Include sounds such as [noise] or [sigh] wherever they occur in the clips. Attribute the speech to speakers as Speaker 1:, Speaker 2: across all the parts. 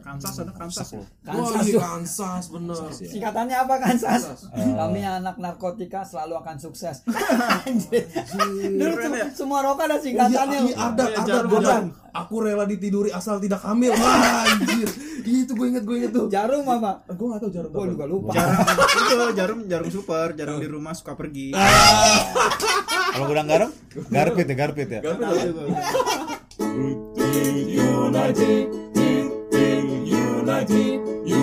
Speaker 1: Kansas ada Kansas ya?
Speaker 2: Kansas
Speaker 3: Wah, iya,
Speaker 2: tuh. iya.
Speaker 3: Kansas bener.
Speaker 1: Kansas ya.
Speaker 2: Singkatannya apa Kansas?
Speaker 3: Kansas.
Speaker 4: Eh.
Speaker 2: Kami anak narkotika selalu akan sukses. Anjir. Dulu
Speaker 1: Keren
Speaker 2: sem-
Speaker 1: ya?
Speaker 2: semua rokok ada
Speaker 3: Iya,
Speaker 2: singkatannya.
Speaker 3: iya, ada,
Speaker 1: Iya,
Speaker 3: ada,
Speaker 1: jarum,
Speaker 3: gua
Speaker 1: jarum.
Speaker 3: bilang, Aku rela ditiduri asal tidak hamil. Wah, anjir. Iya itu gue inget, gue inget tuh.
Speaker 2: Jarum apa?
Speaker 3: Gue gak tau jarum
Speaker 2: Gua juga lupa.
Speaker 1: Jarum itu jarum jarum super, jarum di rumah suka pergi.
Speaker 4: Kalau gudang garam, garpit ya, garpit ya.
Speaker 1: Tahu juga.
Speaker 3: United, United,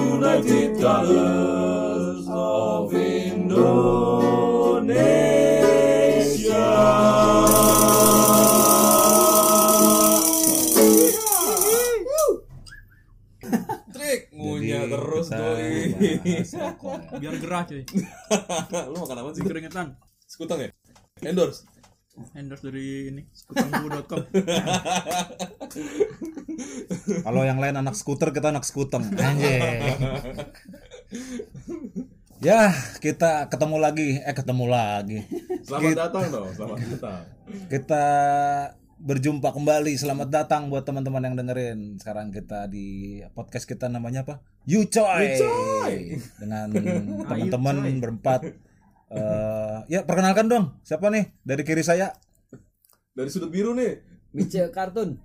Speaker 3: United Colors of Indonesia. Trik ngunyah
Speaker 4: Jadi
Speaker 3: ya, terus
Speaker 4: kita
Speaker 3: doi. [laughs]
Speaker 4: bahas rokok ya.
Speaker 1: Biar gerah cuy.
Speaker 3: Lu makan apa sih?
Speaker 1: Bikin keringetan.
Speaker 3: Skuteng ya? Endorse.
Speaker 1: Endorse dari ini skutanggu.com.
Speaker 4: Kalau yang lain anak skuter, kita anak skuteng. Anjing. Ya, kita ketemu lagi. Eh, ketemu lagi.
Speaker 3: Selamat datang dong, selamat datang.
Speaker 4: Kita berjumpa kembali. Selamat datang buat teman-teman yang dengerin. Sekarang kita di podcast kita namanya apa? You Coy. Dengan
Speaker 1: Ah,
Speaker 4: teman-teman
Speaker 1: You Coy.
Speaker 4: berempat. Eh, ya perkenalkan dong. Siapa nih? Dari kiri saya.
Speaker 3: Dari sudut biru nih,
Speaker 2: Mice kartun.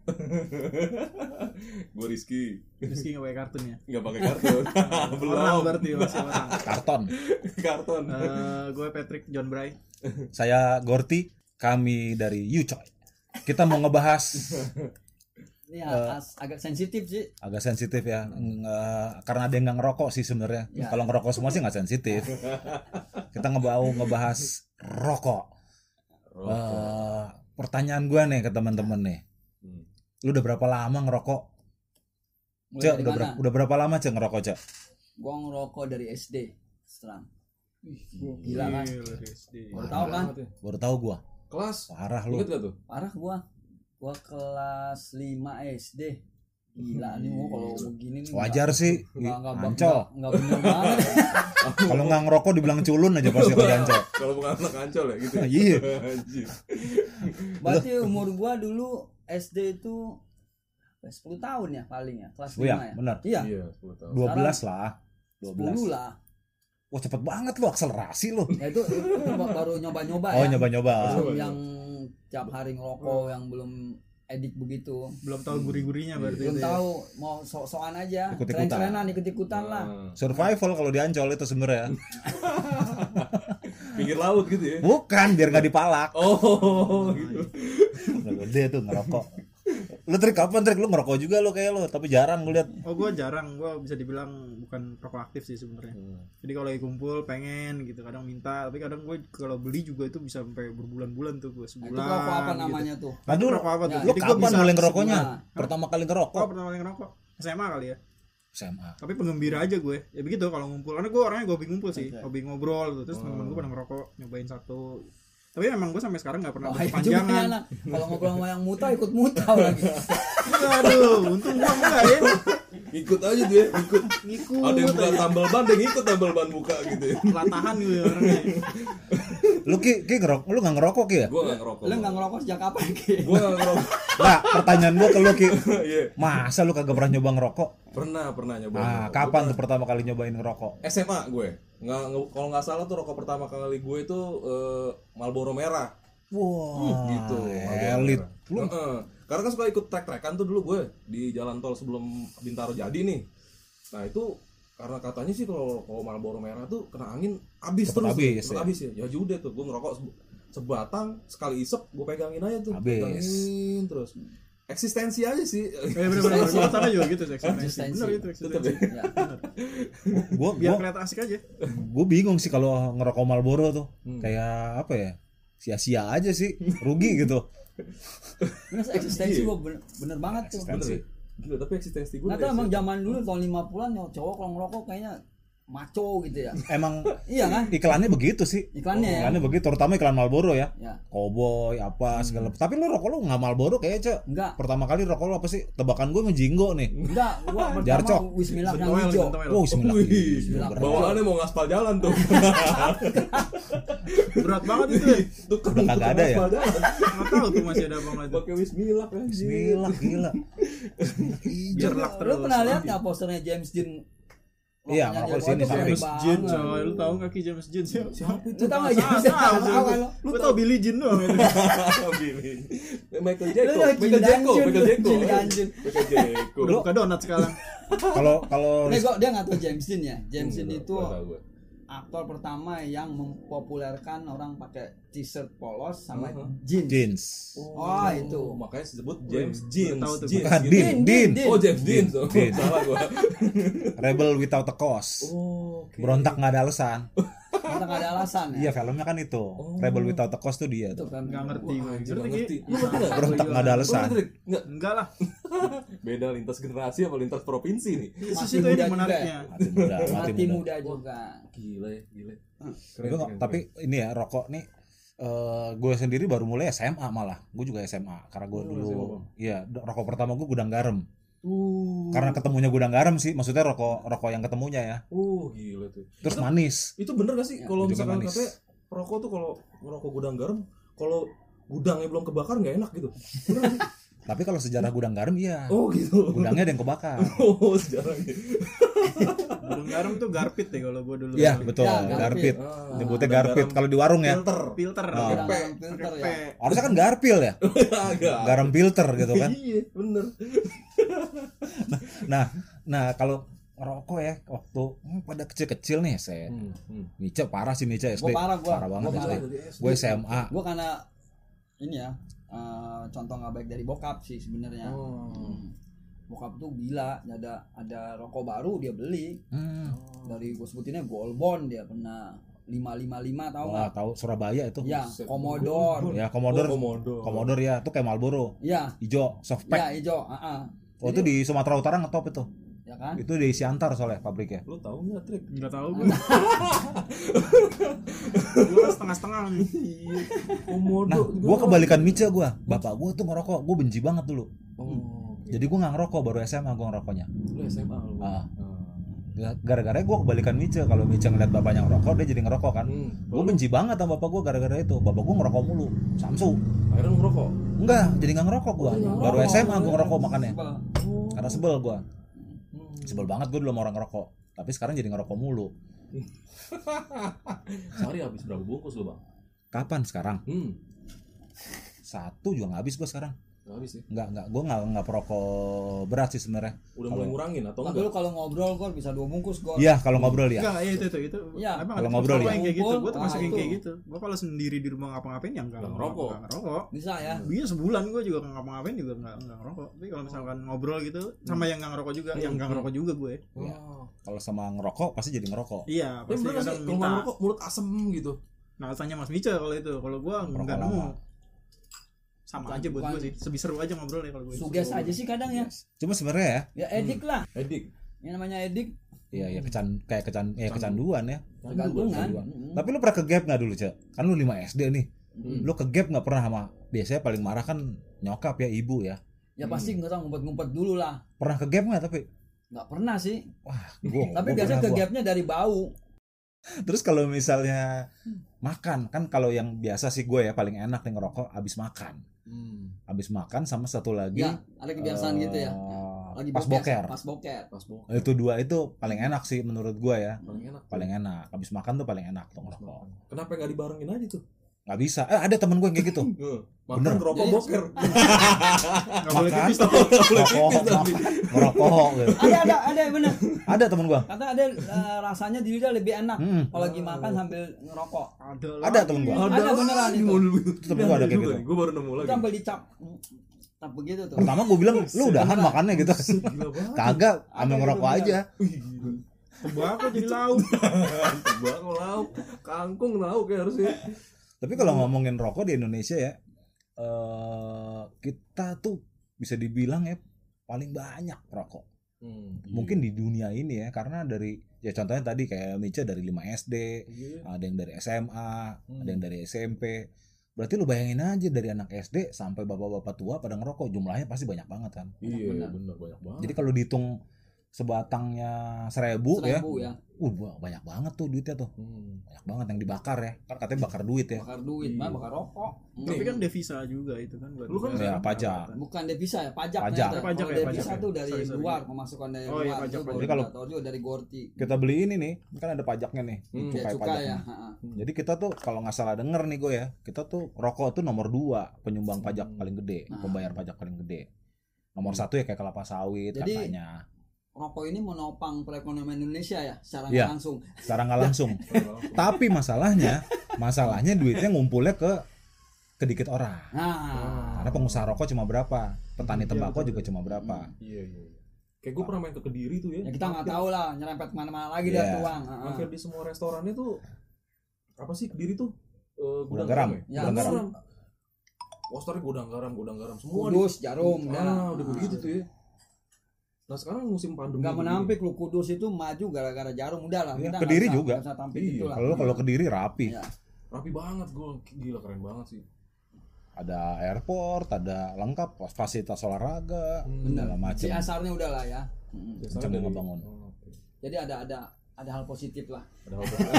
Speaker 3: gue Rizky.
Speaker 1: Rizky nggak pakai kartun ya.
Speaker 3: Nggak pakai kartun.
Speaker 1: Orang
Speaker 3: [laughs] Belum.
Speaker 1: berarti ya, masih orang.
Speaker 4: Karton.
Speaker 3: karton.
Speaker 1: Eh, gue Patrick John Bray.
Speaker 4: Saya Gorti. Kami dari You Coy. Kita
Speaker 2: [laughs]
Speaker 4: mau ngebahas
Speaker 2: Ini as- agak sensitif sih.
Speaker 4: agak sensitif ya Nge- karena ada yang nggak ngerokok sih sebenarnya
Speaker 2: Ya.
Speaker 4: kalau ngerokok semua sih nggak
Speaker 2: [laughs]
Speaker 4: sensitif kita ngebau ngebahas rokok, Eh, pertanyaan gua nih ke teman-teman nih
Speaker 3: Hmm.
Speaker 4: lu udah berapa lama ngerokok
Speaker 2: Mulai
Speaker 4: cek
Speaker 2: dari
Speaker 4: udah,
Speaker 2: mana?
Speaker 4: berapa udah berapa lama cek ngerokok cek
Speaker 2: Gua ngerokok dari SD. Serang. Gila kan?
Speaker 1: Gila, Rizky.
Speaker 2: Baru tahu kan?
Speaker 4: baru tahu gua
Speaker 3: Kelas.
Speaker 4: parah lu
Speaker 3: Ingat gak tuh?
Speaker 2: Parah gua. Gua kelas 5 SD. Gila nih gua kalau begini nih.
Speaker 4: wajar sih
Speaker 2: Enggak enggak
Speaker 4: ancol
Speaker 2: Enggak bener banget.
Speaker 4: kalau nggak ngerokok dibilang culun aja pasti kalau
Speaker 2: [laughs]
Speaker 4: ancol
Speaker 3: [laughs] Kalau bukan anak ancol ya gitu.
Speaker 4: iya
Speaker 3: Anjir.
Speaker 2: Berarti umur gua dulu SD itu apa ya, 10 tahun ya paling ya, kelas 5
Speaker 4: Oh iya,
Speaker 2: ya.
Speaker 4: benar.
Speaker 2: Iya,
Speaker 3: Iya, 10 tahun.
Speaker 4: 12 lah
Speaker 2: 10
Speaker 4: 12
Speaker 2: lah.
Speaker 4: wah cepet banget lu akselerasi lu
Speaker 2: Ya itu ba- baru nyoba-nyoba
Speaker 4: oh
Speaker 2: ya.
Speaker 4: nyoba-nyoba
Speaker 2: Belum yang tiap hari ngerokok yang belum edik begitu.
Speaker 1: Belum tahu gurih-gurihnya berarti.
Speaker 2: Belum
Speaker 1: itu ya.
Speaker 2: tahu mau sok-sokan aja,
Speaker 4: Ikut-ikutan.
Speaker 2: tren-trenan ikut-ikutan lah.
Speaker 3: Hmm.
Speaker 4: survival kalau di ancol itu sebenarnya
Speaker 3: Pinggir laut gitu ya.
Speaker 4: Bukan, biar nggak dipalak.
Speaker 3: Oh, gitu.
Speaker 4: Udah gede tuh ngerokok. Lu trik kapan trik lu ngerokok juga lu kayak lu, tapi jarang gue lihat.
Speaker 1: Oh gue jarang, gue bisa dibilang bukan rokok aktif sih sebenarnya.
Speaker 3: Hmm.
Speaker 1: Jadi kalau lagi kumpul pengen gitu, kadang minta, tapi kadang gue kalau beli juga itu bisa sampai berbulan-bulan tuh
Speaker 2: Nah,
Speaker 1: gue sebulan.
Speaker 2: itu rokok apa
Speaker 1: gitu.
Speaker 2: namanya tuh?
Speaker 4: Aduh,
Speaker 1: Rokok apa tuh?
Speaker 4: lu
Speaker 1: Jadi gua
Speaker 4: kapan
Speaker 1: bisa
Speaker 4: mulai ngerokoknya?
Speaker 2: sebulan.
Speaker 4: Pertama kali
Speaker 1: Gue
Speaker 4: ngerokok
Speaker 1: pernah kali ngerokok SMA kali ya.
Speaker 4: SMA.
Speaker 1: Tapi penggembira aja gue. Ya begitu kalau ngumpul. Karena gue orangnya gue hobi ngumpul sih, hobi ngobrol gitu. Terus temen gue pernah ngerokok, nyobain satu. Tapi emang gue sampai sekarang gak pernah
Speaker 2: Bahaya Oh, iya juga nih
Speaker 1: berkepanjangan.
Speaker 2: anak. Kalau ngobrol sama yang muta ikut muta lagi.
Speaker 1: Aduh, untung gue enggak ya.
Speaker 3: Ikut aja dia, ikut.
Speaker 1: Ngikut.
Speaker 3: Ada yang buka tambal ban, ada yang ikut tambal ban buka gitu ya.
Speaker 1: Latahan gue orangnya.
Speaker 4: Lu ki, ki ngerok, lu nggak ngerokok ki ya?
Speaker 3: Gua gak ngerokok.
Speaker 2: Lu enggak ngerokok sejak kapan, Ki?
Speaker 3: Gua gak ngerokok. [laughs]
Speaker 4: Nah, pertanyaan gua ke lu ki.
Speaker 3: Iya.
Speaker 4: Masa lu kagak pernah nyoba ngerokok?
Speaker 3: Pernah, pernah nyoba.
Speaker 4: Nah,
Speaker 3: ngerokok.
Speaker 4: kapan tuh pertama kali nyobain ngerokok?
Speaker 3: SMA gue. Nggak, nge- kalau nggak salah tuh rokok pertama kali gue itu eh, Marlboro merah.
Speaker 1: Uh,
Speaker 4: Wah,
Speaker 3: gitu Marlboro
Speaker 4: elit.
Speaker 3: merah.
Speaker 4: Lu
Speaker 3: Heeh. karena kan suka ikut trek-trekan tuh dulu gue di jalan tol sebelum Bintaro jadi nih nah itu karena katanya sih kalau kalau Marlboro merah tuh kena angin habis terus
Speaker 4: Cepet
Speaker 3: tuh,
Speaker 4: habis,
Speaker 3: cepet
Speaker 4: ya.
Speaker 3: habis ya ya udah tuh gue ngerokok se- sebatang sekali isep gue pegangin aja tuh
Speaker 4: Habis.
Speaker 3: pegangin terus eksistensi aja sih
Speaker 1: Eh bener-bener, gue sana juga gitu sih eksistensi.
Speaker 2: Eksistensi.
Speaker 1: Bener itu
Speaker 3: tetep
Speaker 1: eksistensi.
Speaker 3: ya
Speaker 2: Ya.
Speaker 4: gua
Speaker 1: Biar
Speaker 4: gua,
Speaker 1: kelihatan asik aja.
Speaker 4: gua bingung sih kalau ngerokok Marlboro tuh.
Speaker 3: Hmm.
Speaker 4: Kayak apa ya? Sia-sia aja sih, rugi gitu.
Speaker 2: Bener eksistensi
Speaker 3: Iya.
Speaker 2: gua bener, bener banget tuh.
Speaker 4: Eksistensi.
Speaker 3: Bener ya? Gila, tapi eksistensi gue
Speaker 2: Nggak tahu emang zaman dulu tahun 50-an ya cowok kalau ngerokok kayaknya maco
Speaker 4: [laughs]
Speaker 2: gitu ya
Speaker 4: Emang
Speaker 2: iya kan
Speaker 4: iklannya begitu sih.
Speaker 2: Iklannya
Speaker 3: Iya.
Speaker 2: ya.
Speaker 4: Iklannya begitu, terutama iklan Marlboro ya.
Speaker 2: ya
Speaker 4: Cowboy apa segala.
Speaker 3: Hmm.
Speaker 4: Tapi lu rokok lu nggak Marlboro kayaknya, Cok.
Speaker 2: enggak
Speaker 4: Pertama kali rokok lu apa sih? Tebakan gue ngejinggo nih.
Speaker 2: enggak gua
Speaker 4: [laughs]
Speaker 2: pertama
Speaker 4: Jarcok.
Speaker 2: Wismillah yang
Speaker 1: Bentoel,
Speaker 2: hijau
Speaker 1: bentoel.
Speaker 4: Wow, Oh, bismillah.
Speaker 3: Iya. Wih,
Speaker 4: Bismillah.
Speaker 3: bawaannya mau ngaspal jalan tuh.
Speaker 1: Berat banget itu ya.
Speaker 3: Tuh kan
Speaker 4: Udah kagak ada ya?
Speaker 1: Nggak tahu tuh masih ada apa nggak itu.
Speaker 3: Pakai Bismillah kan.
Speaker 4: Bismillah, gila. Bismillah, ijo.
Speaker 1: Biar lak
Speaker 2: lu
Speaker 1: terus.
Speaker 2: pernah lihat nggak posternya James Dean
Speaker 4: Iya,
Speaker 2: Rokoknya
Speaker 4: ngerokok di
Speaker 2: Jawa
Speaker 4: sini,
Speaker 2: tuh
Speaker 4: samping.
Speaker 1: James
Speaker 2: banget.
Speaker 1: Jean coy, lu tahu kaki James Jean siapa? Siapa
Speaker 2: lu tau nggak James Dean
Speaker 1: Tahu,
Speaker 2: Tahu kan lo?
Speaker 1: Lu tahu Billy Jean doang itu.
Speaker 3: [laughs] Michael
Speaker 2: Lu
Speaker 3: Jacob,
Speaker 2: udah
Speaker 3: Michael Jacob,
Speaker 2: jindanjun, lu
Speaker 3: Michael Jacob,
Speaker 2: jindanjun.
Speaker 3: Michael Jacob.
Speaker 1: Udah buka donat sekarang.
Speaker 4: Kalau kalau
Speaker 2: Nih, gua- Eh, dia nggak tahu James Dean ya. James Dean
Speaker 3: Nggak
Speaker 2: itu
Speaker 3: tahu gua.
Speaker 2: aktor pertama yang mempopulerkan orang pakai t-shirt polos sama
Speaker 3: Uh-huh.
Speaker 2: jeans.
Speaker 4: jeans.
Speaker 2: Oh, itu.
Speaker 3: makanya disebut James
Speaker 1: Wih,
Speaker 3: Jeans.
Speaker 1: tahu tuh gua.
Speaker 3: Jeans.
Speaker 4: Bukan
Speaker 3: gitu.
Speaker 4: Din, Din.
Speaker 2: Din.
Speaker 3: Oh James Dean, oh,
Speaker 4: Dean.
Speaker 3: salah
Speaker 2: [laughs]
Speaker 3: gua.
Speaker 4: Rebel Without a Cause.
Speaker 3: Oh, oke. Oh.
Speaker 4: Berontak nggak ada alasan.
Speaker 2: Karena nggak ada alasan ya.
Speaker 4: Iya, filmnya kan itu. Rebel Without a Cause tuh dia
Speaker 2: Itu
Speaker 4: tuh.
Speaker 2: kan.
Speaker 1: Enggak ngerti gitu.
Speaker 3: Wah,
Speaker 1: gue.
Speaker 3: anjir,
Speaker 1: Ki?
Speaker 3: nggak ngerti. Lu ngerti nggak?
Speaker 4: Berontak nggak ada
Speaker 3: Lu
Speaker 4: alasan.
Speaker 3: ngerti, nggak?
Speaker 1: Enggak Iya. lah.
Speaker 3: Beda lintas generasi apa lintas provinsi nih?
Speaker 1: Terus
Speaker 2: Masih
Speaker 1: itu
Speaker 2: muda
Speaker 1: ini
Speaker 2: juga.
Speaker 1: menariknya.
Speaker 4: Mati muda, mati
Speaker 2: Mati
Speaker 4: muda.
Speaker 2: muda juga.
Speaker 3: Gila ya, gila.
Speaker 4: Tapi kok- tapi ini ya rokok nih eh gue sendiri baru mulai SMA malah gue juga SMA karena
Speaker 3: Oh,
Speaker 4: gue dulu iya do- rokok pertama gue gudang garam
Speaker 3: uh, [laughs]
Speaker 4: karena ketemunya gudang garam sih maksudnya rokok rokok yang ketemunya ya
Speaker 3: uh, gila tuh.
Speaker 4: terus
Speaker 3: Itu-
Speaker 4: manis
Speaker 3: Itu bener gak
Speaker 2: Ya,
Speaker 3: sih kalau
Speaker 4: ujungnya
Speaker 3: misalkan
Speaker 4: manis.
Speaker 3: katanya perokok tuh kalau ngerokok gudang garam, kalau gudangnya belum kebakar nggak enak gitu. Bener nggak sih?
Speaker 4: tapi kalau sejarah gudang garam iya
Speaker 3: oh gitu.
Speaker 4: gudangnya ada yang kebakar
Speaker 3: [laughs] Oh sejarahnya.
Speaker 1: Burung garam tuh garpit deh kalau gue dulu.
Speaker 4: iya betul
Speaker 2: Ya,
Speaker 4: garpit
Speaker 2: garpit.
Speaker 3: Ah,
Speaker 4: nyebutnya
Speaker 3: gudang
Speaker 4: garpit
Speaker 3: garam
Speaker 4: kalau di warung ya
Speaker 3: Filter.
Speaker 1: Filter.
Speaker 4: Oh.
Speaker 1: dong.
Speaker 2: Orang
Speaker 3: Pe-
Speaker 2: filter
Speaker 1: Pakai
Speaker 2: ya.
Speaker 1: P.
Speaker 4: harusnya kan garpil ya
Speaker 3: Agak.
Speaker 4: garam filter gitu kan
Speaker 3: [laughs] Iya, bener.
Speaker 4: nah nah kalau rokok ya waktu hmm, pada kecil-kecil nih saya
Speaker 3: Hmm, hmm.
Speaker 4: Nica parah sih Nica SD
Speaker 2: Gue parah gue.
Speaker 4: parah banget
Speaker 2: Gua
Speaker 4: SD
Speaker 2: parah.
Speaker 4: gue SMA
Speaker 2: Gue karena ini ya eh, contoh nggak baik dari bokap sih sebenarnya.
Speaker 3: Oh.
Speaker 2: Hmm. Bokap tuh gila, ada ada rokok baru dia beli
Speaker 4: hmm.
Speaker 2: dari gue sebutinnya gold bond dia pernah 555 tahu
Speaker 4: Wah,
Speaker 2: nggak?
Speaker 4: tahu Surabaya itu.
Speaker 2: Ya,
Speaker 3: buset.
Speaker 2: Commodore.
Speaker 4: Ya, Commodore.
Speaker 3: Oh, Commodore.
Speaker 4: Commodore ya, itu kayak Marlboro.
Speaker 2: Ya,
Speaker 4: Ijo,
Speaker 2: ya
Speaker 4: softpack.
Speaker 2: hijau, ah, ah.
Speaker 4: Oh, itu di Sumatera Utara ngetop itu.
Speaker 2: ya kan?
Speaker 4: Itu di Siantar soalnya pabriknya.
Speaker 3: Lu tahu nggak trik?
Speaker 1: Enggak tahu
Speaker 3: [laughs]
Speaker 1: gue. Gue kan setengah-setengah nih.
Speaker 3: Iya. Komodo.
Speaker 4: Nah, gua kebalikan Mica gua. Bapak gua tuh ngerokok, gua benci banget dulu.
Speaker 3: Oh,
Speaker 4: Hmm. Jadi gua nggak ngerokok baru SMA gua ngerokoknya.
Speaker 3: lu SMA lu.
Speaker 4: Ah. Gara-gara gua kebalikan Mica. Kalau Mica ngeliat bapaknya ngerokok, dia jadi ngerokok kan.
Speaker 3: Hmm.
Speaker 4: Gua benci banget sama bapak gua gara-gara itu. Bapak gua ngerokok mulu. Samsu.
Speaker 3: Akhirnya lu ngerokok.
Speaker 4: Enggak, jadi nggak ngerokok gua. Baru SMA gua ngerokok makannya.
Speaker 2: Apa?
Speaker 3: Oh.
Speaker 4: Karena sebel gua.
Speaker 3: Hmm.
Speaker 4: Sebel banget gua dulu sama orang ngerokok. Tapi sekarang jadi ngerokok mulu.
Speaker 3: Sehari habis berapa bungkus lu, Bang?
Speaker 4: Kapan sekarang?
Speaker 3: Hmm.
Speaker 4: satu juga nggak habis gue sekarang
Speaker 3: nggak Habis ya.
Speaker 4: nggak nggak gue nggak nggak perokok berat sih sebenarnya
Speaker 3: Udah mulai
Speaker 4: Kalau-
Speaker 3: ngurangin atau
Speaker 2: Tapi
Speaker 3: enggak?
Speaker 2: lu kalau ngobrol gor bisa dua bungkus gor.
Speaker 4: iya kalau ngobrol ya
Speaker 1: Enggak, iya itu itu itu.
Speaker 2: Iya.
Speaker 1: Emang
Speaker 4: Kalau
Speaker 1: ada
Speaker 4: ngobrol
Speaker 1: teman
Speaker 4: ya?
Speaker 1: yang kayak gitu. Gue
Speaker 2: Ngumpul,
Speaker 1: termasuk
Speaker 2: ah,
Speaker 1: yang
Speaker 2: itu.
Speaker 1: kayak gitu. Gue kalau sendiri di rumah ngapa-ngapain ya enggak
Speaker 3: Nggak ngerokok.
Speaker 1: Enggak ngerokok.
Speaker 2: Bisa ya.
Speaker 1: Iya sebulan gue juga nggak ngapa-ngapain juga nggak nggak ngerokok. Tapi kalau misalkan ngobrol gitu sama
Speaker 3: Hmm.
Speaker 1: yang nggak ngerokok juga, yang nggak ngerokok juga gue.
Speaker 4: Iya.
Speaker 3: Oh.
Speaker 4: kalau sama ngerokok pasti jadi ngerokok
Speaker 1: Iya
Speaker 3: Tapi
Speaker 1: pasti
Speaker 3: bener nggak sih
Speaker 1: kadang
Speaker 3: kalau nggak
Speaker 1: minta.
Speaker 3: ngerokok mulut asem gitu.
Speaker 1: Nah tanya Mas Mica kalau itu, kalau gue
Speaker 4: Ngerokok
Speaker 1: nggak nemu.
Speaker 4: lama.
Speaker 1: Sama aja buat
Speaker 2: bukan.
Speaker 1: gue sih. Lebih seru aja ngobrol ya kalau gue.
Speaker 4: Iya.
Speaker 2: Suges aja sih kadang ya.
Speaker 4: cuma sebenarnya ya
Speaker 2: Ya edik lah.
Speaker 3: Edik.
Speaker 2: Yang namanya edik
Speaker 4: iya ya kecan kayak kecan ya kecanduan ya
Speaker 2: Hmm. tergantungan. Hmm.
Speaker 4: dua.
Speaker 2: Mm-mm.
Speaker 4: tapi lu pernah ke gap nggak dulu cek kan lu 5 sd nih
Speaker 2: Mm.
Speaker 4: lu ke gap nggak pernah sama biasanya paling marah kan nyokap ya ibu ya
Speaker 2: Ya pasti nggak tahu ngumpet-ngumpet dulu lah.
Speaker 4: pernah ke gap nggak tapi "Ah,
Speaker 2: Nggak pernah sih.
Speaker 4: gua
Speaker 2: [laughs] Tapi
Speaker 4: Oh, gua
Speaker 2: biasanya
Speaker 4: pernah,
Speaker 2: ke
Speaker 4: gua.
Speaker 2: gapnya dari bau.
Speaker 4: terus kalau misalnya
Speaker 2: Hmm.
Speaker 4: makan kan kalau yang biasa sih gue ya paling enak nih ngerokok abis makan
Speaker 3: Hmm.
Speaker 4: abis makan sama satu lagi
Speaker 2: Ya, ada kebiasaan
Speaker 4: eh,
Speaker 2: gitu ya. Lagi
Speaker 4: pas boker
Speaker 2: Pas boker.
Speaker 3: Pas bokap.
Speaker 4: itu dua itu paling enak sih menurut gua ya
Speaker 3: Paling enak.
Speaker 4: paling enak habis makan tuh paling enak tuh ngerokok
Speaker 3: Kenapa nggak dibarengin aja tuh?
Speaker 4: nggak bisa eh ada temen gue yang kayak gitu
Speaker 3: Heeh.
Speaker 4: Bener.
Speaker 3: Makan ngerokok
Speaker 2: Jadi-
Speaker 3: boker.
Speaker 1: Nggak boleh gitu.
Speaker 4: Makan.
Speaker 1: tipis tapi.
Speaker 4: ngerokok
Speaker 3: tapi.
Speaker 4: makan, ngerokok gitu.
Speaker 2: Ada ada ada bener.
Speaker 4: ada temen gue
Speaker 2: Kata ada eh, rasanya di lidah lebih enak
Speaker 4: hmm.
Speaker 2: kalau lagi makan sambil ngerokok.
Speaker 1: Ada
Speaker 4: ada temen gue
Speaker 2: Ada beneran itu.
Speaker 3: itu.
Speaker 4: Tetep gua ada kayak gitu.
Speaker 3: Gue baru nemu
Speaker 2: Itu
Speaker 3: lagi.
Speaker 2: sambil dicap. Tap begitu tuh.
Speaker 4: pertama gue bilang lu udahan
Speaker 2: Beneran.
Speaker 4: makannya gitu
Speaker 3: Buset, Gila banget.
Speaker 4: kagak
Speaker 2: Ada
Speaker 4: ambil
Speaker 2: yang
Speaker 4: ngerokok
Speaker 2: bener.
Speaker 4: aja
Speaker 3: Wih, gila.
Speaker 1: Tembakau jadi lauk.
Speaker 3: Bang lauk, kangkung lauk ya harusnya.
Speaker 4: tapi kalau ngomongin rokok di Indonesia ya eh kita tuh bisa dibilang ya paling banyak rokok
Speaker 3: Hmm.
Speaker 4: mungkin di dunia ini ya karena dari ya contohnya tadi kayak Mica dari 5 SD
Speaker 3: Iya.
Speaker 4: ada yang dari SMA
Speaker 3: Hmm.
Speaker 4: ada yang dari SMP berarti lu bayangin aja dari anak SD sampai bapak-bapak tua pada ngerokok jumlahnya pasti banyak banget kan
Speaker 3: Iya,
Speaker 2: Benar.
Speaker 3: bener banyak banget.
Speaker 4: jadi kalau dihitung sebatangnya seribu, ya,
Speaker 2: Seribu ya.
Speaker 4: uh wah, banyak banget tuh duitnya tuh
Speaker 3: Hmm.
Speaker 4: banyak banget yang dibakar ya kan katanya bakar duit ya
Speaker 2: bakar duit
Speaker 3: Iya.
Speaker 2: mah bakar rokok
Speaker 1: Tapi kan devisa juga itu kan buat
Speaker 3: Lu kan
Speaker 1: negara.
Speaker 4: ya, pajak.
Speaker 2: bukan devisa ya pajak
Speaker 4: Pajak.
Speaker 2: ternyata. Kalau
Speaker 1: Pajak ya,
Speaker 2: devisa
Speaker 1: pajak ya.
Speaker 2: tuh dari
Speaker 1: Sorry, sorry.
Speaker 2: luar pemasukan dari
Speaker 1: Oh, iya,
Speaker 2: luar
Speaker 1: pajak, pajak.
Speaker 4: Jadi kalau-
Speaker 2: tahu juga dari gorti
Speaker 4: kita beli ini nih kan ada pajaknya nih
Speaker 3: Hmm,
Speaker 4: cukai
Speaker 2: cuka
Speaker 4: pajaknya
Speaker 2: ya ha-ha.
Speaker 4: jadi kita tuh kalau nggak salah denger nih gue ya kita tuh rokok tuh nomor dua penyumbang pajak
Speaker 3: Hmm.
Speaker 4: paling gede
Speaker 2: Nah.
Speaker 4: pembayar pajak paling gede nomor satu ya kayak kelapa sawit
Speaker 2: Jadi-
Speaker 4: katanya
Speaker 2: rokok ini menopang perekonomian Indonesia ya secara nggak
Speaker 4: Iya.
Speaker 2: langsung
Speaker 4: secara nggak langsung
Speaker 3: Langsung.
Speaker 4: tapi masalahnya masalahnya duitnya ngumpulnya ke kedikit orang
Speaker 1: Oh.
Speaker 2: nah
Speaker 4: karena pengusaha rokok cuma berapa petani
Speaker 1: Iya,
Speaker 4: tembakau
Speaker 1: betul.
Speaker 4: juga cuma berapa
Speaker 3: Iya, iya. iya. Kayak gue pernah main ke Kediri tuh ya.
Speaker 2: ya kita nggak tahu lah nyerempet kemana-mana lagi
Speaker 4: Iya.
Speaker 2: dah tuang ha-ha.
Speaker 3: Hampir di semua restorannya tuh apa sih Kediri tuh? Eh,
Speaker 4: Gudang garam.
Speaker 2: Ya,
Speaker 3: Gudang
Speaker 2: garam.
Speaker 3: garam. Posternya gudang garam, gudang garam semua. di-
Speaker 2: kudus jarum
Speaker 3: ah,
Speaker 2: dah.
Speaker 3: udah begitu tuh ya. Nah, sekarang musim pandemi.
Speaker 2: nggak
Speaker 3: begini.
Speaker 2: menampik lu kudus itu maju gara-gara jarum udah lah
Speaker 4: Iya,
Speaker 2: kita
Speaker 4: Kediri
Speaker 2: nggak usah-
Speaker 4: juga.
Speaker 2: nggak usah tampik
Speaker 3: Iya,
Speaker 2: itulah.
Speaker 4: kalau kalau kediri rapi
Speaker 2: Iya.
Speaker 3: Rapi banget gue. Gila keren banget sih.
Speaker 4: ada airport ada lengkap fasilitas olahraga
Speaker 3: Bener.
Speaker 4: segala
Speaker 2: si
Speaker 4: macam
Speaker 2: asarnya udah lah ya Mm.
Speaker 4: Kenceng yang ngebangun.
Speaker 2: jadi ada ada ada hal positif lah
Speaker 3: Oh, Ada [laughs] apa?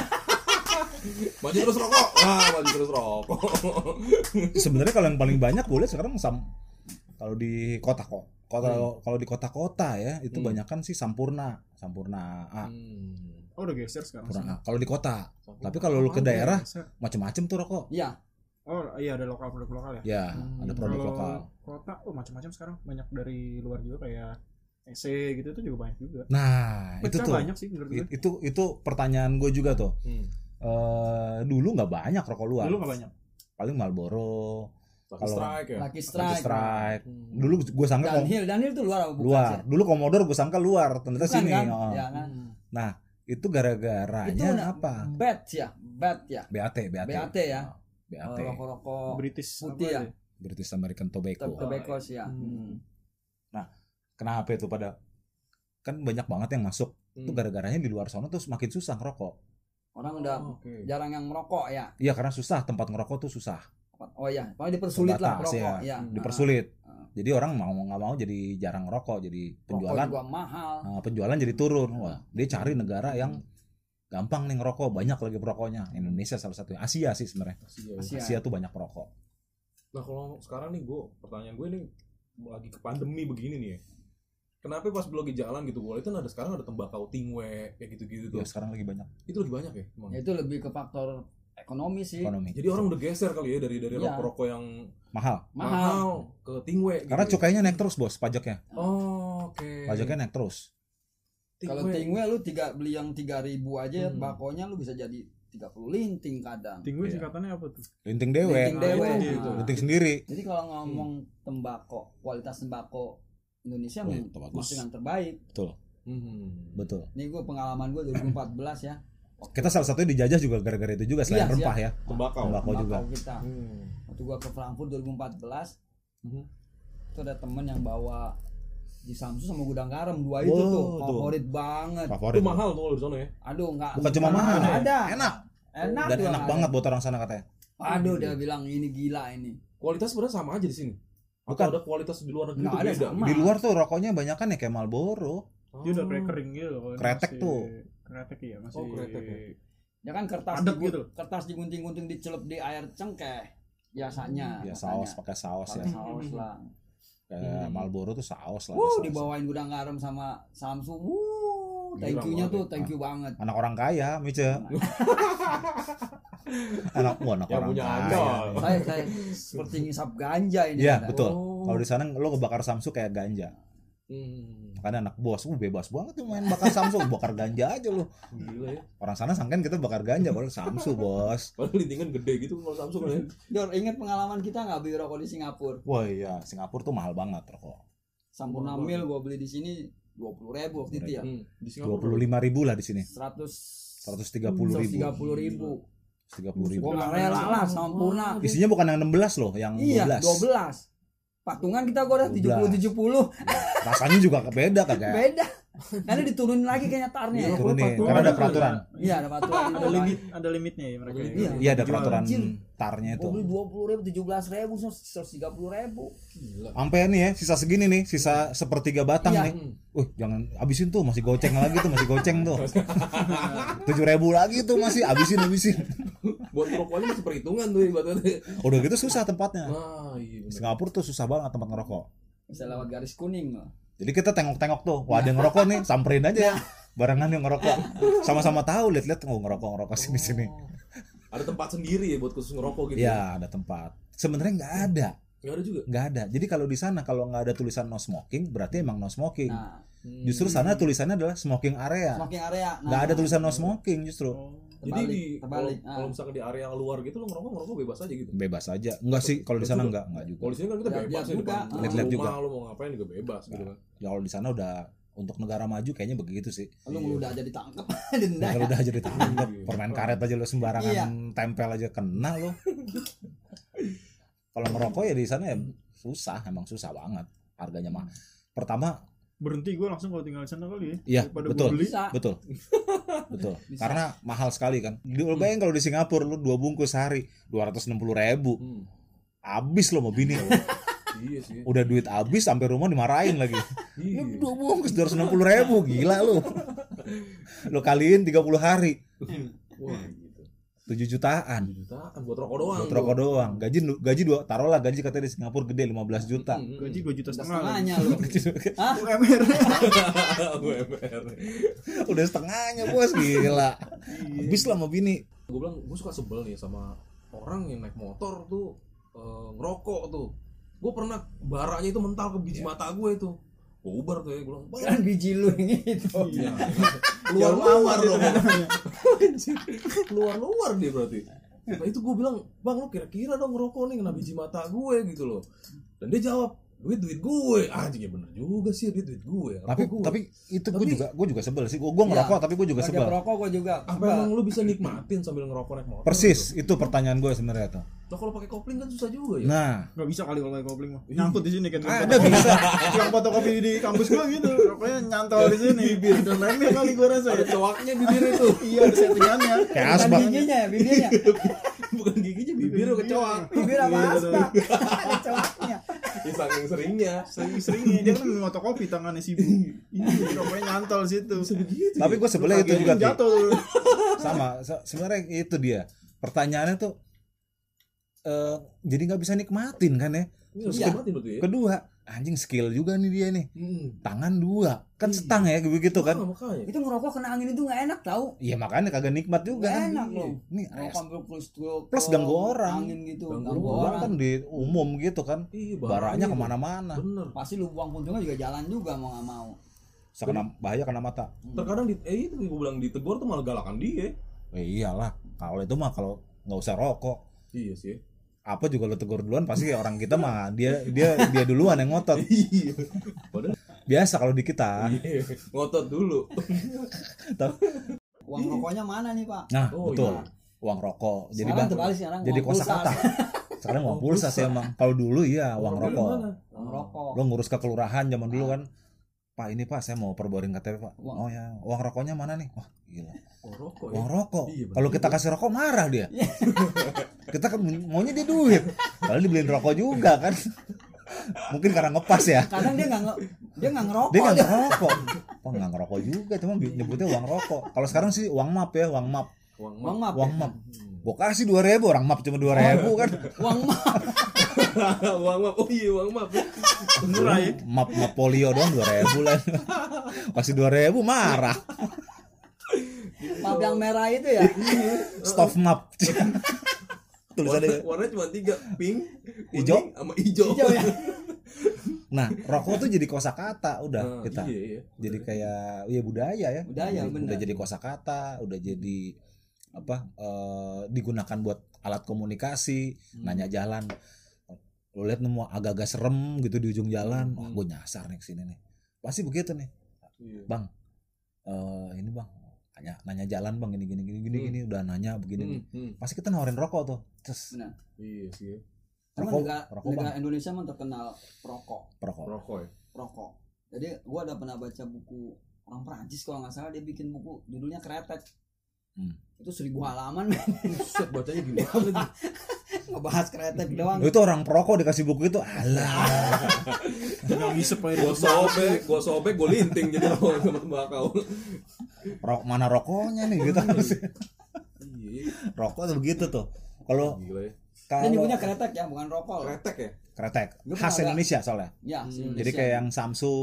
Speaker 3: Baju terus rokok. Wah, baju terus rokok.
Speaker 4: sebenarnya kalau yang paling banyak gue lihat sekarang sam kalau di kota kok kota kalau di kota-kota ya itu
Speaker 3: Hmm.
Speaker 4: banyak kan sih sampurna sampurna A
Speaker 3: Hmm.
Speaker 1: Oh udah geser sekarang.
Speaker 4: sampurna A kalau di kota tapi kalau lu ke daerah
Speaker 1: Geser.
Speaker 4: macem-macem tuh rokok
Speaker 2: iya
Speaker 1: Oh iya ada lokal produk lokal ya.
Speaker 4: ya
Speaker 3: Hmm.
Speaker 4: ada produk
Speaker 1: Kalau
Speaker 4: lokal
Speaker 1: kota oh macam-macam sekarang banyak dari luar juga kayak EC gitu itu juga banyak juga.
Speaker 4: nah itu
Speaker 1: Pecah
Speaker 4: tuh
Speaker 1: banyak sih menurut gue.
Speaker 4: It- itu itu pertanyaan gue juga tuh
Speaker 3: hmm.
Speaker 4: Eh dulu nggak banyak rokok luar
Speaker 1: Dulu nggak banyak.
Speaker 4: paling Marlboro
Speaker 3: Kalau strike ya.
Speaker 2: Lucky
Speaker 4: Lucky
Speaker 2: Strike,
Speaker 4: Iya, Strike
Speaker 3: Hmm.
Speaker 4: dulu gue sangka kom-
Speaker 2: Dunhill Dunhill tuh luar apa bukan
Speaker 4: luar
Speaker 2: sih? ya?
Speaker 4: dulu Komodor gue sangka luar ternyata
Speaker 2: Bukan
Speaker 4: sini
Speaker 2: kan?
Speaker 4: oh.
Speaker 2: Ya kan?
Speaker 4: itu
Speaker 2: Itu
Speaker 4: gara-garanya
Speaker 2: na-
Speaker 4: apa
Speaker 2: Bet ya, bet ya.
Speaker 4: BAT BAT
Speaker 2: BAT ya.
Speaker 4: Oh, BAT
Speaker 2: Kalau rokok-rokok
Speaker 1: British
Speaker 2: putih
Speaker 1: apa
Speaker 2: ya.
Speaker 1: aja?
Speaker 4: British American Tobacco
Speaker 2: tobacco sih
Speaker 4: iya.
Speaker 2: ya.
Speaker 3: Hmm.
Speaker 4: kenapa itu pada kan banyak banget yang masuk
Speaker 3: Hmm.
Speaker 4: itu
Speaker 2: Hmm.
Speaker 4: gara-garanya di luar sana tuh semakin susah ngerokok
Speaker 2: Orang udah
Speaker 3: Ah, Oke.
Speaker 2: jarang yang merokok ya.
Speaker 4: iya karena susah tempat ngerokok tuh susah
Speaker 2: Oh iya, pokoknya dipersulit lah
Speaker 4: Terbatas,
Speaker 2: rokok
Speaker 4: ya.
Speaker 2: ya.
Speaker 3: Hmm.
Speaker 4: dipersulit
Speaker 2: Ah.
Speaker 4: jadi orang mau nggak mau jadi jarang ngerokok jadi
Speaker 2: Rokok
Speaker 4: penjualan
Speaker 2: juga Ah. Hmm. mahal.
Speaker 4: eh, penjualan jadi turun wah dia cari negara yang gampang nih ngerokok banyak lagi perokoknya Indonesia salah satunya Asia sih sebenarnya
Speaker 3: Asia.
Speaker 2: Asia.
Speaker 4: Asia tuh banyak perokok
Speaker 3: Nah kalau sekarang nih gue pertanyaan gue nih lagi ke pandemi begini nih ya. Kenapa pas gue lagi jalan gitu gue itu ada sekarang ada tembakau tingwe kayak gitu-gitu tuh.
Speaker 4: ya, sekarang lagi banyak
Speaker 3: Itu lagi banyak ya. Emang.
Speaker 2: Ya, itu lebih ke faktor ekonomi sih.
Speaker 4: ekonomi
Speaker 3: Jadi orang udah geser kali ya dari dari
Speaker 2: Iya.
Speaker 3: rokok-rokok yang
Speaker 4: mahal
Speaker 2: Mahal.
Speaker 3: mahal ke tingwe.
Speaker 4: karena
Speaker 3: gitu ya.
Speaker 4: cukainya naik terus bos pajaknya
Speaker 3: Oh, oke.
Speaker 4: pajaknya naik terus
Speaker 2: Kalau tingwe lu tiga beli yang 3000 aja
Speaker 3: Hmm.
Speaker 2: bakonya lu bisa jadi 30 linting kadang.
Speaker 1: Tinggi
Speaker 4: Iya.
Speaker 1: singkatannya apa tuh?
Speaker 4: linting dewe Ah,
Speaker 2: Linting
Speaker 3: Nah,
Speaker 2: dewe.
Speaker 3: itu, itu.
Speaker 2: Nah.
Speaker 4: linting sendiri
Speaker 2: Jadi kalau ngomong tembakau, kualitas tembakau Indonesia
Speaker 4: Wah,
Speaker 2: mem-
Speaker 4: itu bagus.
Speaker 2: masih yang terbaik.
Speaker 3: Hmm.
Speaker 4: betul
Speaker 2: Ini gue pengalaman gue 2014 ya.
Speaker 4: kita salah satunya dijajah juga gara-gara itu juga selain
Speaker 2: Iya,
Speaker 4: rempah ya
Speaker 3: Tembakau.
Speaker 4: tembakau juga
Speaker 2: Tembakau kita.
Speaker 3: Hmm.
Speaker 2: Waktu gue ke Frankfurt 2014 Hmm.
Speaker 3: Mhm.
Speaker 2: itu ada temen yang bawa di Samsu sama gudang garam dua itu
Speaker 4: Wow,
Speaker 2: tuh
Speaker 4: tuh.
Speaker 2: favorit banget.
Speaker 4: favorit
Speaker 3: Itu mahal tuh kalau di sana ya.
Speaker 2: Aduh nggak.
Speaker 4: bukan cuma
Speaker 2: nggak
Speaker 4: mahal
Speaker 2: Ada.
Speaker 4: enak
Speaker 2: Enak. juga
Speaker 4: dan enak
Speaker 2: nggak
Speaker 4: banget buat orang sana katanya
Speaker 2: ada. Aduh dia bilang ini gila ini.
Speaker 3: Kualitas sebenarnya sama aja di sini. Atau
Speaker 4: Bukan.
Speaker 3: ada kualitas di luar negeri
Speaker 2: Nggak
Speaker 3: tuh
Speaker 2: ada,
Speaker 3: beda.
Speaker 2: sama.
Speaker 4: di luar tuh rokoknya banyak kan ya kayak Marlboro
Speaker 1: Dia udah kayak kering gitu loh.
Speaker 4: Kretek
Speaker 1: Masih-
Speaker 4: tuh.
Speaker 1: Kretek iya masih.
Speaker 3: Oh, kretek ya.
Speaker 2: Ya kan kertas
Speaker 1: Padat
Speaker 2: digun-
Speaker 1: gitu.
Speaker 2: kertas digunting-gunting dicelup di air cengkeh biasanya.
Speaker 4: ya
Speaker 2: katanya.
Speaker 4: saus pakai saus ya
Speaker 2: Pakai saus lah.
Speaker 4: kayak
Speaker 3: Hmm.
Speaker 4: Marlboro tuh saus lah ada
Speaker 2: Wuh
Speaker 4: saus.
Speaker 2: dibawain gudang garam sama Samsu. Wuh,
Speaker 3: Gila
Speaker 2: thank you-nya
Speaker 3: banget ya.
Speaker 2: tuh thank you banget. Nah,
Speaker 4: anak orang kaya Mice anak wah anak
Speaker 3: Yang
Speaker 4: orang
Speaker 3: punya
Speaker 4: kaya
Speaker 3: andal.
Speaker 4: nih.
Speaker 2: saya saya seperti ngisap ganja ini.
Speaker 4: Iya,
Speaker 2: Anda.
Speaker 4: betul.
Speaker 3: Oh.
Speaker 4: kalau di sana lo kebakar Samsung kayak ganja
Speaker 3: Hmm.
Speaker 4: makanya anak bos uh bebas banget tuh main bakar Samsung bakar ganja aja lo
Speaker 3: Gila ya.
Speaker 4: orang sana sangkain kita bakar ganja padahal Samsung bos
Speaker 3: Padahal lintingan gede gitu kalau Samsung ya.
Speaker 2: Dor, ingat pengalaman kita nggak beli rokok di Singapura?
Speaker 4: wah iya Singapura tuh mahal banget rokok
Speaker 2: Sampurna
Speaker 3: Wah,
Speaker 2: mil gua beli di sini dua puluh ribu waktu itu ya.
Speaker 3: Hmm. Di
Speaker 4: dua
Speaker 3: Singapura.
Speaker 4: puluh lima ribu lah di sini
Speaker 2: Seratus
Speaker 4: 130.000.
Speaker 2: tiga puluh ribu.
Speaker 4: tiga puluh ribu
Speaker 2: Gua nggak rela lah sampurna.
Speaker 4: isinya bukan yang 16 loh yang
Speaker 2: Iya,
Speaker 4: 12
Speaker 2: dua belas. patungan kita kok udah 70 70
Speaker 4: rasanya juga beda kagak
Speaker 2: beda karena diturunin lagi kayaknya tarnya ya
Speaker 4: turunin
Speaker 1: Patungan
Speaker 4: karena ada
Speaker 1: juga.
Speaker 4: peraturan
Speaker 2: iya ada patungan
Speaker 1: ada limit
Speaker 4: gitu.
Speaker 1: ada limitnya ya mereka ya.
Speaker 3: gitu.
Speaker 2: Iya.
Speaker 4: iya ada peraturan
Speaker 2: Anjir.
Speaker 4: tarnya
Speaker 2: Oh, beli
Speaker 4: itu
Speaker 2: dua puluh ribu, tujuh belas ribu, seratus tiga puluh ribu.
Speaker 3: Gila. Hmm.
Speaker 4: sampai nih ya sisa segini nih sisa sepertiga batang
Speaker 2: Iya.
Speaker 4: nih Wih, jangan abisin tuh masih goceng lagi tuh masih goceng
Speaker 2: [laughs]
Speaker 4: tuh tujuh ribu lagi tuh masih abisin abisin
Speaker 3: Buat ngerokok aja masih perhitungan tuh ibaratnya.
Speaker 4: udah gitu susah tempatnya
Speaker 3: Nah, iya bener.
Speaker 4: Singapura tuh susah banget tempat ngerokok
Speaker 2: Bisa lewat garis kuning loh.
Speaker 4: Jadi kita tengok-tengok tuh, wah ada yang ngerokok nih, samperin
Speaker 2: Nah.
Speaker 4: aja. Barengan yang ngerokok. Sama-sama tahu, lihat-lihat oh ngerokok ngerokok sini sini.
Speaker 2: Oh,
Speaker 3: Ada tempat sendiri ya buat khusus ngerokok gitu.
Speaker 4: Ya ada tempat. Sebenarnya nggak ada,
Speaker 3: Enggak ada juga.
Speaker 4: nggak ada. Jadi kalau di sana kalau nggak ada tulisan no smoking, berarti emang no smoking.
Speaker 2: Nah,
Speaker 4: Iya. Justru sana tulisannya adalah smoking area.
Speaker 2: smoking area. Nah,
Speaker 4: Nggak ada tulisan no smoking justru.
Speaker 1: Oh.
Speaker 3: Jadi
Speaker 2: terbalik,
Speaker 3: di kalau
Speaker 2: terbalik. Ah.
Speaker 3: kalau misalkan di area luar gitu lo ngerokok ngerokok bebas aja gitu.
Speaker 4: Bebas aja. Nggak sih kalau di sana nggak nggak juga.
Speaker 3: Kalau di sini kan kita
Speaker 2: Lihat-lihat
Speaker 3: bebas ya
Speaker 2: juga.
Speaker 3: depan.
Speaker 2: Ah.
Speaker 4: Lihat-lihat
Speaker 3: rumah
Speaker 4: juga.
Speaker 3: Lo mau ngapain juga bebas gitu
Speaker 4: [laughs]
Speaker 3: kan.
Speaker 4: Ya, kalau di sana udah untuk negara maju kayaknya begitu sih.
Speaker 2: Lu
Speaker 3: iya.
Speaker 2: udah aja
Speaker 4: [laughs]
Speaker 2: ditangkap denda.
Speaker 4: Kalau
Speaker 2: ya.
Speaker 4: udah aja ditangkap, permain karet aja lo sembarangan
Speaker 2: Iya.
Speaker 4: tempel aja kena lo. Kalau ngerokok ya di sana ya susah, emang susah banget. Harganya mah. Pertama,
Speaker 1: berhenti gue langsung kalau tinggal di sana kali ya
Speaker 4: Iya,
Speaker 1: Daripada
Speaker 4: betul.
Speaker 1: gua beli
Speaker 2: Bisa.
Speaker 4: betul. Betul.
Speaker 2: Bisa.
Speaker 4: Karena mahal sekali kan. Di lu bayangin kalau di Singapura lu dua bungkus sehari 260 ribu.
Speaker 3: Hmm.
Speaker 4: Abis lo mau bini. lo.
Speaker 3: Iya sih.
Speaker 4: Udah ya duit abis sampai rumah dimarahin lagi.
Speaker 3: Iya.
Speaker 4: Lu dua bungkus 260 ribu, gila lu. Lu kaliin 30 hari,
Speaker 3: Wah, gitu.
Speaker 4: 7 jutaan.
Speaker 3: Jutaan buat rokok doang.
Speaker 4: Buat rokok doang. Gaji gaji dua, taruhlah gaji katanya di Singapura gede 15 juta.
Speaker 3: Hmm,
Speaker 1: gaji
Speaker 3: [laughs]
Speaker 1: dua juta
Speaker 2: Udah
Speaker 1: setengah lagi
Speaker 2: setengahnya lu. Hah? [laughs]
Speaker 1: UMR
Speaker 3: UMR.
Speaker 4: [laughs] Udah setengahnya bos gila. Habis lah sama bini.
Speaker 3: Gue bilang gue suka sebel nih sama orang yang naik motor tuh eh, ngerokok tuh. Gue pernah baranya itu mental ke biji mata gue itu. Gue ubar tuh ya gue bilang. "Bang,
Speaker 2: Kan biji lu ini itu. [laughs]
Speaker 3: Iya. luar luar dong. [laughs] luar luar dia berarti. Nah, itu gue bilang, bang lu kira-kira dong ngerokok nih kena biji mata gue gitu loh. Dan dia jawab, duit duit gue. Anjing ya bener juga sih duit duit gue. Ngerokok
Speaker 4: Tapi
Speaker 3: gue.
Speaker 4: tapi itu gue
Speaker 3: Tapi-
Speaker 4: juga gue juga sebel sih. Gue gue ngerokok tapi gue juga
Speaker 2: Sebagai
Speaker 4: sebel.
Speaker 2: perokok gua juga.
Speaker 3: apa
Speaker 2: Sebel.
Speaker 3: emang Ah, lu bisa nikmatin sambil ngerokok naik motor?
Speaker 4: Persis itu pertanyaan gue sebenarnya tuh.
Speaker 3: Gitu? Nah, kalau pakai kopling kan susah juga ya.
Speaker 4: Nah,
Speaker 1: nggak bisa kali kalau kayak kopling mah nyangkut di sini kan
Speaker 4: ada
Speaker 1: [laughs]
Speaker 4: bisa.
Speaker 1: yang fotokopi di kampus gua gitu rokoknya nyantol di sini bibir dan lainnya kali gua rasa ya
Speaker 3: Ada coaknya bibir itu,
Speaker 4: [laughs]
Speaker 1: iya ada settingannya
Speaker 4: Kayak
Speaker 2: Bukan
Speaker 4: asbak.
Speaker 2: bijinya ya,
Speaker 3: [laughs]
Speaker 2: bibirnya.
Speaker 3: bukan giginya bibir lu kecoak. [laughs]
Speaker 2: Bibir sama
Speaker 1: Iya,
Speaker 2: asbak. Ada celaknya.
Speaker 3: Ya saking seringnya.
Speaker 1: sering-seringnya dia kan minum fotokopi tangannya sibuk iya rokoknya nyantol situ
Speaker 3: Begitu.
Speaker 4: tapi gue sebelnya itu
Speaker 1: Kagetnya
Speaker 4: juga Ki.
Speaker 1: jatuh
Speaker 4: sama. Se- Sebenarnya itu dia. Pertanyaannya tuh eh jadi nggak bisa nikmatin kan ya.
Speaker 3: Ini harus
Speaker 2: Iya.
Speaker 3: nikmatin betul ya.
Speaker 4: Kedua, anjing skill juga nih dia nih.
Speaker 3: Hmm.
Speaker 4: Tangan dua, kan setang ya begitu kan.
Speaker 3: Ah, makanya.
Speaker 2: Itu ngerokok kena angin itu nggak enak tau.
Speaker 4: Iya makanya kagak nikmat juga.
Speaker 2: Nggak
Speaker 4: kan.
Speaker 2: enak loh.
Speaker 4: Nih
Speaker 2: Ngerokok sambil plus
Speaker 4: Plus ganggu orang.
Speaker 2: Angin gitu.
Speaker 3: Ganggu
Speaker 2: Ganggu
Speaker 3: orang.
Speaker 4: Orang
Speaker 2: orang.
Speaker 4: kan di umum gitu kan.
Speaker 3: Iya,
Speaker 4: Baranya
Speaker 3: itu.
Speaker 4: kemana-mana.
Speaker 3: Bener.
Speaker 2: Pasti lu buang puncungnya juga jalan juga mau nggak mau.
Speaker 4: Bisa kena bahaya kena mata.
Speaker 3: Terkadang di, eh itu gue bilang ditegur tuh malah galakan dia.
Speaker 4: Eh, iyalah, kalau itu mah kalau nggak usah rokok.
Speaker 3: Iya sih.
Speaker 4: Apa juga lo tegur duluan pasti orang kita mah dia dia dia duluan yang ngotot.
Speaker 3: Iya. Padahal
Speaker 4: Biasa kalau di kita.
Speaker 3: iya. ngotot dulu.
Speaker 2: Uang rokoknya mana nih pak?
Speaker 4: Nah,
Speaker 3: Oh,
Speaker 4: betul.
Speaker 3: iya.
Speaker 4: Uang rokok. Jadi
Speaker 2: sekarang
Speaker 4: bah-
Speaker 2: terbalik sekarang
Speaker 4: jadi
Speaker 2: uang
Speaker 4: kosa
Speaker 2: pulsa.
Speaker 4: kata. Sekarang uang
Speaker 3: Uang
Speaker 4: pulsa sih
Speaker 3: pulsa.
Speaker 4: emang. Kalau dulu iya uang
Speaker 3: Orang
Speaker 4: rokok.
Speaker 3: mana? Hmm.
Speaker 2: Uang rokok.
Speaker 4: Lo ngurus ke kelurahan zaman dulu kan. Pak ini pak saya mau perboring KTP pak.
Speaker 2: Uang.
Speaker 4: Oh ya, uang rokoknya mana nih? Wah gila.
Speaker 3: Uang rokok ya.
Speaker 4: Uang rokok.
Speaker 3: Iya, bener Iya.
Speaker 4: Kalau kita kasih rokok marah dia. [laughs] kita kan maunya dia duit. Kalau dibeliin rokok juga kan. Mungkin karena ngepas ya.
Speaker 2: Kadang dia nggak nge- dia nggak ngerokok. ya.
Speaker 4: Dia nggak ngerokok. Oh nggak ngerokok juga, cuma bi- nyebutnya uang rokok. Kalau sekarang sih uang map ya, uang map,
Speaker 3: Uang
Speaker 2: Uang map.
Speaker 4: uang
Speaker 2: ya?
Speaker 4: map. Gue kasih dua ribu, orang map cuma dua ribu kan.
Speaker 2: Uang map.
Speaker 3: [laughs] uang map. Oh iya, uang map.
Speaker 1: murah ya
Speaker 4: Map map polio doang dua ribu lah. Kasih dua ribu marah.
Speaker 2: Map yang merah itu
Speaker 4: [laughs]
Speaker 2: ya.
Speaker 4: Iya. Stop
Speaker 3: [laughs]
Speaker 4: map.
Speaker 3: Warna,
Speaker 4: Tulisannya. ya?
Speaker 3: warnanya cuma tiga, pink,
Speaker 4: Ijo.
Speaker 3: kuning, sama hijau.
Speaker 2: Hijau ya.
Speaker 4: Nah, rokok tuh jadi kosakata udah
Speaker 3: Nah,
Speaker 4: kita.
Speaker 3: Iya, iya.
Speaker 4: jadi kayak ya budaya ya
Speaker 2: Budaya,
Speaker 4: Jadi-
Speaker 2: benar.
Speaker 4: udah jadi kosakata udah jadi apa eh, digunakan buat alat komunikasi
Speaker 3: Hmm.
Speaker 4: nanya jalan lu lihat nemu agak-agak serem gitu di ujung jalan wah
Speaker 3: Hmm.
Speaker 4: gue nyasar nih kesini nih pasti begitu nih
Speaker 3: Iya.
Speaker 4: Eh ini bang nanya nanya jalan bang gini gini gini gini
Speaker 3: Hmm.
Speaker 4: gini udah nanya begini
Speaker 3: Hmm, hmm.
Speaker 4: pasti kita nawarin rokok tuh Terus,
Speaker 2: Benar.
Speaker 3: Iya sih.
Speaker 2: Cuma
Speaker 4: Rokok,
Speaker 2: negara,
Speaker 4: rokok,
Speaker 2: negara Indonesia mah terkenal perokok,
Speaker 4: perokok.
Speaker 3: Rokok ya.
Speaker 2: perokok. Jadi gua ada pernah baca buku orang Perancis kalau nggak salah dia bikin buku judulnya Kretek.
Speaker 4: Hmm.
Speaker 2: Itu seribu halaman men.
Speaker 3: Buset bacanya gimana lagi?
Speaker 2: ngebahas kretek doang.
Speaker 4: Itu orang perokok dikasih buku itu alah.
Speaker 3: [laughs]
Speaker 1: Jangan ngisep aja.
Speaker 3: Gua sobek, gua sobek, gua linting jadi lawan sama tembakau.
Speaker 4: Rok mana rokoknya nih gitu.
Speaker 3: Hmm. Iya,
Speaker 4: Rokok tuh begitu tuh. Kalau
Speaker 3: gila ya.
Speaker 2: Dan
Speaker 4: kalau
Speaker 2: nyebutnya kretek ya, bukan rokok.
Speaker 3: Kretek ya?
Speaker 4: kretek
Speaker 2: Lu pernah
Speaker 4: khas
Speaker 2: ada-
Speaker 4: Indonesia soalnya.
Speaker 2: Ya, si
Speaker 3: Hmm.
Speaker 4: Jadi
Speaker 2: Indonesia.
Speaker 4: kayak yang Samsu,